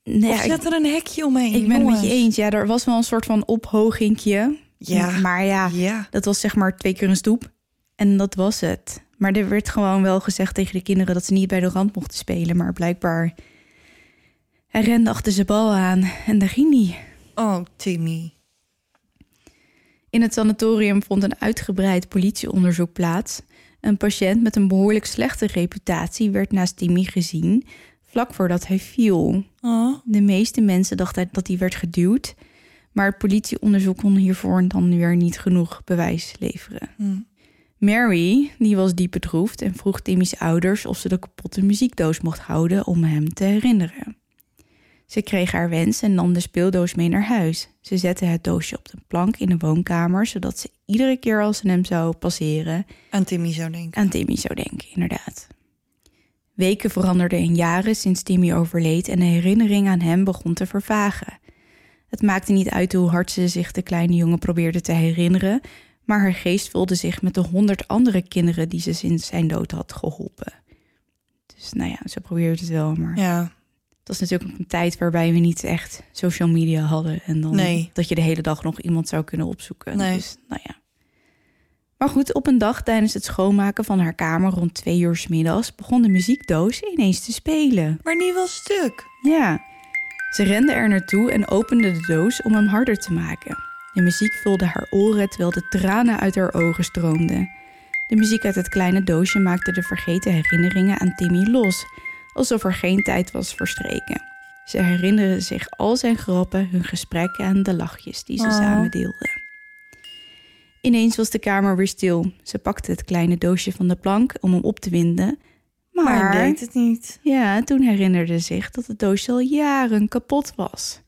S3: nee,
S5: of
S3: ja, ik,
S5: zet er een hekje omheen.
S3: ik ben het met je
S5: jongens.
S3: eens. Ja, er was wel een soort van ophogingje.
S5: Ja.
S3: Maar ja,
S5: Ja.
S3: dat was zeg maar twee keer een stoep en dat was het. Maar er werd gewoon wel gezegd tegen de kinderen dat ze niet bij de rand mochten spelen. Maar blijkbaar, hij rende achter zijn bal aan en daar ging hij.
S5: Oh, Timmy.
S3: In het sanatorium vond een uitgebreid politieonderzoek plaats. Een patiënt met een behoorlijk slechte reputatie werd naast Timmy gezien, vlak voordat hij viel.
S5: Oh.
S3: De meeste mensen dachten dat hij werd geduwd, maar het politieonderzoek kon hiervoor dan weer niet genoeg bewijs leveren.
S5: Hm.
S3: Mary, die was diep bedroefd en vroeg Timmy's ouders of ze de kapotte muziekdoos mocht houden om hem te herinneren. Ze kreeg haar wens en nam de speeldoos mee naar huis. Ze zette het doosje op de plank in de woonkamer, zodat ze iedere keer als ze hem zou passeren
S5: Aan Timmy zou denken.
S3: aan Timmy zou denken, inderdaad. Weken veranderden in jaren sinds Timmy overleed en de herinnering aan hem begon te vervagen. Het maakte niet uit hoe hard ze zich de kleine jongen probeerde te herinneren, maar haar geest vulde zich met de honderd andere kinderen die ze sinds zijn dood had geholpen. Dus nou ja, ze probeerde het wel, maar
S5: Ja.
S3: het was natuurlijk ook een tijd waarbij we niet echt social media hadden. En dan
S5: Nee.
S3: dat je de hele dag nog iemand zou kunnen opzoeken.
S5: Nee.
S3: Dus, nou ja. Maar goed, op een dag tijdens het schoonmaken van haar kamer rond twee uur 's middags begon de muziekdoos ineens te spelen.
S5: Maar niet wel stuk.
S3: Ja. Ze rende er naartoe en opende de doos om hem harder te maken. De muziek vulde haar oren terwijl de tranen uit haar ogen stroomden. De muziek uit het kleine doosje maakte de vergeten herinneringen aan Timmy los, alsof er geen tijd was verstreken. Ze herinnerde zich al zijn grappen, hun gesprekken en de lachjes die ze
S5: Oh.
S3: samen deelden. Ineens was de kamer weer stil. Ze pakte het kleine doosje van de plank om hem op te winden, maar,
S5: Maar hij deed het niet.
S3: ja, toen herinnerde ze zich dat het doosje al jaren kapot was.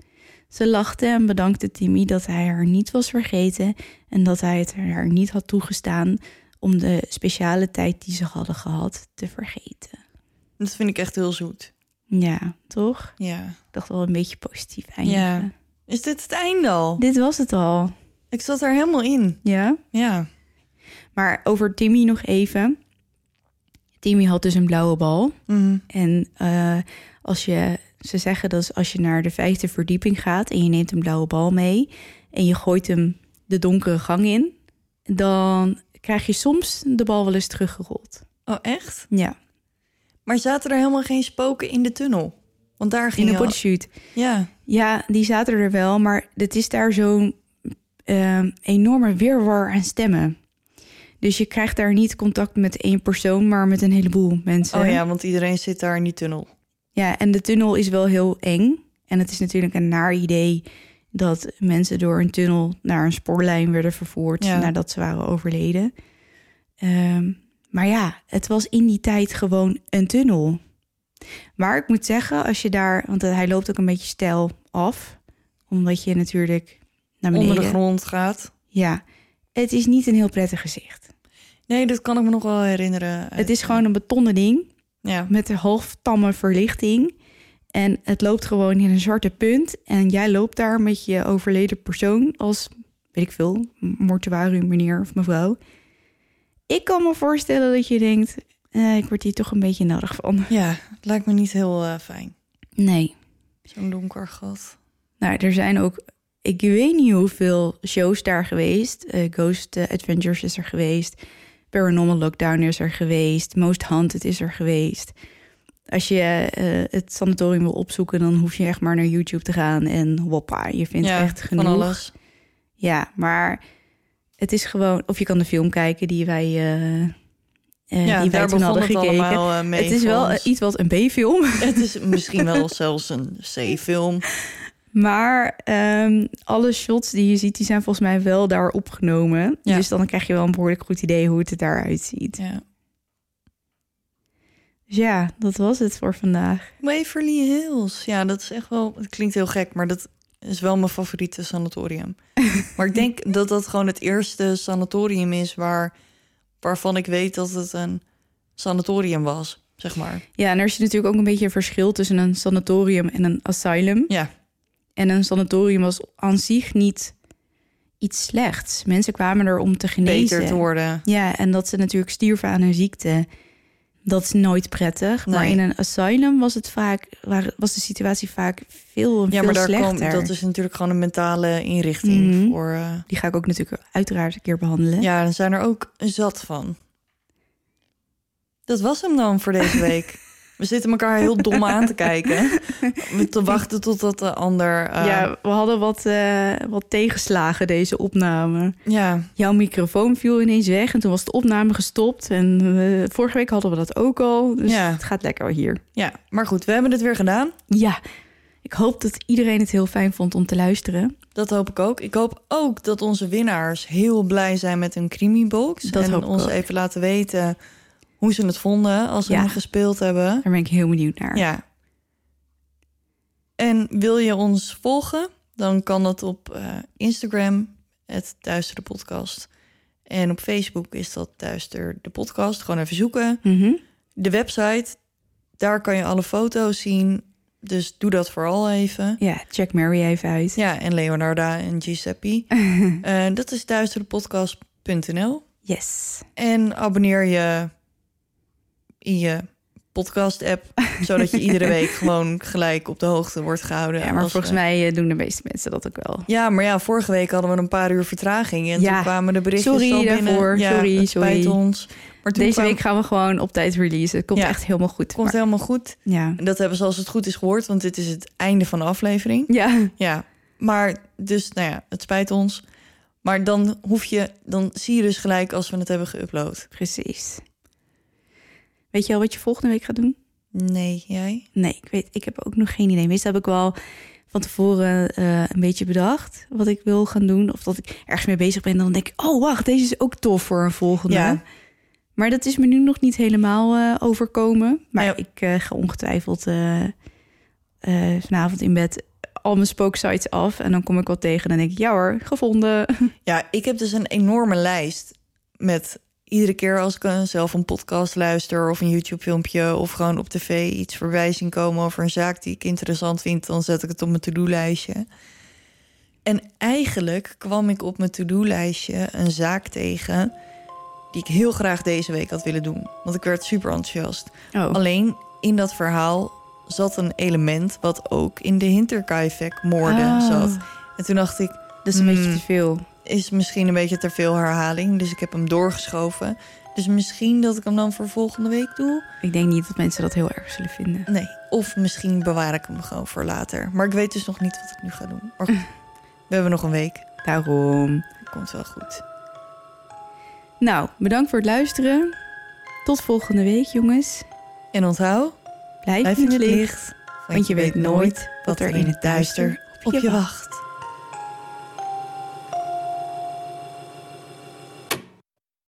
S3: Ze lachte en bedankte Timmy dat hij haar niet was vergeten en dat hij het haar niet had toegestaan om de speciale tijd die ze hadden gehad te vergeten.
S2: Dat vind ik echt heel zoet.
S3: Ja, toch?
S2: Ja.
S3: Ik dacht wel een beetje positief eindigen.
S2: Ja. Is dit het einde al?
S3: Dit was het al.
S2: Ik zat er helemaal in.
S3: Ja.
S2: Ja.
S3: Maar over Timmy nog even. Timmy had dus een blauwe bal.
S2: Mhm.
S3: En eh, als je, ze zeggen dat is als je naar de vijfde verdieping gaat en je neemt een blauwe bal mee en je gooit hem de donkere gang in, dan krijg je soms de bal wel eens teruggerold.
S2: Oh, echt?
S3: Ja,
S2: Maar zaten er helemaal geen spoken in de tunnel? Want daar
S3: in
S2: ging
S3: de
S2: je al- Oh
S3: bodysuit.
S2: Ja.
S3: Ja, die zaten er wel, maar het is daar zo'n ehm, enorme wirwar aan stemmen. Dus je krijgt daar niet contact met één persoon, maar met een heleboel mensen.
S2: Oh ja, want iedereen zit daar in die tunnel.
S3: Ja, en de tunnel is wel heel eng. En het is natuurlijk een naar idee dat mensen door een tunnel naar een spoorlijn werden vervoerd
S2: Ja.
S3: nadat ze waren overleden. Ehm, maar ja, het was in die tijd gewoon een tunnel. Maar ik moet zeggen, als je daar, want hij loopt ook een beetje stijl af, omdat je natuurlijk naar beneden.
S2: Onder de grond gaat.
S3: Ja, het is niet een heel prettig gezicht.
S2: Nee, dat kan ik me nog wel herinneren.
S3: Het is gewoon een betonnen ding.
S2: Ja.
S3: met de halftamme verlichting. En het loopt gewoon in een zwarte punt. En jij loopt daar met je overleden persoon als, weet ik veel, mortuarium meneer of mevrouw. Ik kan me voorstellen dat je denkt, eh, ik word hier toch een beetje nodig van.
S2: Ja, het lijkt me niet heel eh, fijn.
S3: Nee.
S2: Zo'n donker gat.
S3: Nou, er zijn ook, ik weet niet hoeveel shows daar geweest. Eh, Ghost eh, Adventures is er geweest. Paranormal Lockdown is er geweest. Most Haunted is er geweest. Als je eh, het sanatorium wil opzoeken, dan hoef je echt maar naar YouTube te gaan. En hoppa, je vindt
S2: ja,
S3: echt genoeg.
S2: van alles.
S3: Ja, maar het is gewoon... Of je kan de film kijken die wij, eh, eh,
S2: ja,
S3: die wij
S2: daar
S3: toen
S2: begon
S3: hadden
S2: het
S3: gekeken.
S2: allemaal eh, mee.
S3: het is
S2: voor
S3: wel
S2: ons.
S3: eh, iets wat een B-film.
S2: Het is misschien wel zelfs een C-film.
S3: Maar ehm, alle shots die je ziet, die zijn volgens mij wel daar opgenomen.
S2: Ja.
S3: Dus dan krijg je wel een behoorlijk goed idee hoe het eruit ziet.
S2: Ja.
S3: Dus ja, dat was het voor vandaag.
S2: Waverly Hills. Ja, dat is echt wel. Het klinkt heel gek, maar dat is wel mijn favoriete sanatorium. maar ik denk dat dat gewoon het eerste sanatorium is waar, waarvan ik weet dat het een sanatorium was, zeg maar.
S3: Ja, en er is natuurlijk ook een beetje een verschil tussen een sanatorium en een asylum.
S2: Ja.
S3: En een sanatorium was aan zich niet iets slechts. Mensen kwamen er om te genezen.
S2: Beter te worden.
S3: Ja, en dat ze natuurlijk stierven aan hun ziekte. Dat is nooit prettig. Maar
S2: Nee.
S3: in een asylum was het vaak, waar- was de situatie vaak veel,
S2: Ja,
S3: veel
S2: maar daar
S3: slechter.
S2: kwam, dat is natuurlijk gewoon een mentale inrichting
S3: Mhm.
S2: voor. eh,
S3: Die ga ik ook natuurlijk uiteraard een keer behandelen.
S2: ja, dan zijn er ook zat van. Dat was hem dan voor deze week. We zitten elkaar heel dom aan te kijken. We te wachten totdat de ander. eh,
S3: Ja, we hadden wat, eh, wat tegenslagen deze opname.
S2: ja,
S3: Jouw microfoon viel ineens weg en toen was de opname gestopt. En eh, vorige week hadden we dat ook al. Dus
S2: Ja.
S3: het gaat lekker hier.
S2: Ja, maar goed, we hebben het weer gedaan.
S3: Ja, ik hoop dat iedereen het heel fijn vond om te luisteren.
S2: Dat hoop ik ook. Ik hoop ook dat onze winnaars heel blij zijn met hun crimibox.
S3: Dat
S2: en
S3: hoop ik
S2: ons
S3: ook.
S2: even laten weten hoe ze het vonden als ze
S3: Ja.
S2: hem gespeeld hebben.
S3: Daar ben ik heel benieuwd naar.
S2: Ja. En wil je ons volgen? Dan kan dat op eh, Instagram, het Duister de Podcast. En op Facebook is dat Duister de Podcast. Gewoon even zoeken.
S3: Mhm.
S2: De website, daar kan je alle foto's zien. Dus doe dat vooral even.
S3: ja check Mary even uit.
S2: Ja, en Leonarda en Giuseppe. Eh, dat is duisterepodcast.nl.
S3: Yes.
S2: En abonneer je in je podcast-app, zodat je iedere week gewoon gelijk op de hoogte wordt gehouden.
S3: Ja, maar
S2: Als
S3: volgens
S2: we-
S3: mij eh, doen de meeste mensen dat ook wel.
S2: Ja, maar ja, vorige week hadden we een paar uur vertraging en
S3: Ja.
S2: toen kwamen de berichten
S3: Sorry
S2: al binnen.
S3: daarvoor.
S2: Ja,
S3: Sorry,
S2: het
S3: sorry.
S2: spijt ons. Maar toen
S3: Deze
S2: kwam-
S3: week gaan we gewoon op tijd releasen. Het komt
S2: Ja.
S3: echt helemaal goed.
S2: komt
S3: Maar-
S2: helemaal goed.
S3: ja.
S2: En Dat hebben ze als het goed is gehoord, want dit is het einde van de aflevering.
S3: Ja.
S2: Ja, maar dus, nou ja, het spijt ons. Maar dan hoef je, dan zie je dus gelijk als we het hebben geüpload.
S3: Precies. Weet je al wat je volgende week gaat doen?
S2: Nee, jij?
S3: Nee, ik weet, ik heb ook nog geen idee. Meestal heb ik wel van tevoren eh, een beetje bedacht wat ik wil gaan doen. Of dat ik ergens mee bezig ben. Dan denk ik, oh wacht, deze is ook tof voor een volgende.
S2: Ja.
S3: Maar dat is me nu nog niet helemaal eh, overkomen. Maar
S2: Ja.
S3: ik eh, ga ongetwijfeld eh, eh, vanavond in bed al mijn spooksites af. En dan kom ik wat tegen en dan denk ik, ja hoor, gevonden.
S2: Ja, ik heb dus een enorme lijst met iedere keer als ik eh, zelf een podcast luister of een YouTube-filmpje of gewoon op tv iets voorbij zien komen over een zaak die ik interessant vind, dan zet ik het op mijn to-do-lijstje. En eigenlijk kwam ik op mijn to-do-lijstje een zaak tegen die ik heel graag deze week had willen doen, want ik werd super enthousiast.
S3: Oh.
S2: Alleen in dat verhaal zat een element wat ook in de Hinterkaifeck-moorden
S3: Ah.
S2: zat. En toen dacht ik,
S3: Dat is een beetje
S2: Hmm.
S3: te veel.
S2: is misschien een beetje te veel herhaling. Dus ik heb hem doorgeschoven. Dus misschien dat ik hem dan voor volgende week doe.
S3: Ik denk niet dat mensen dat heel erg zullen vinden.
S2: Nee. Of misschien bewaar ik hem gewoon voor later. Maar ik weet dus nog niet wat ik nu ga doen. Maar
S3: Mm.
S2: goed, we hebben nog een week.
S3: Daarom.
S2: Komt wel goed.
S3: Nou, bedankt voor het luisteren. Tot volgende week, jongens.
S2: En onthoud,
S3: Blijf,
S2: blijf in het licht.
S3: want je weet nooit
S2: wat er in het duister op je wacht.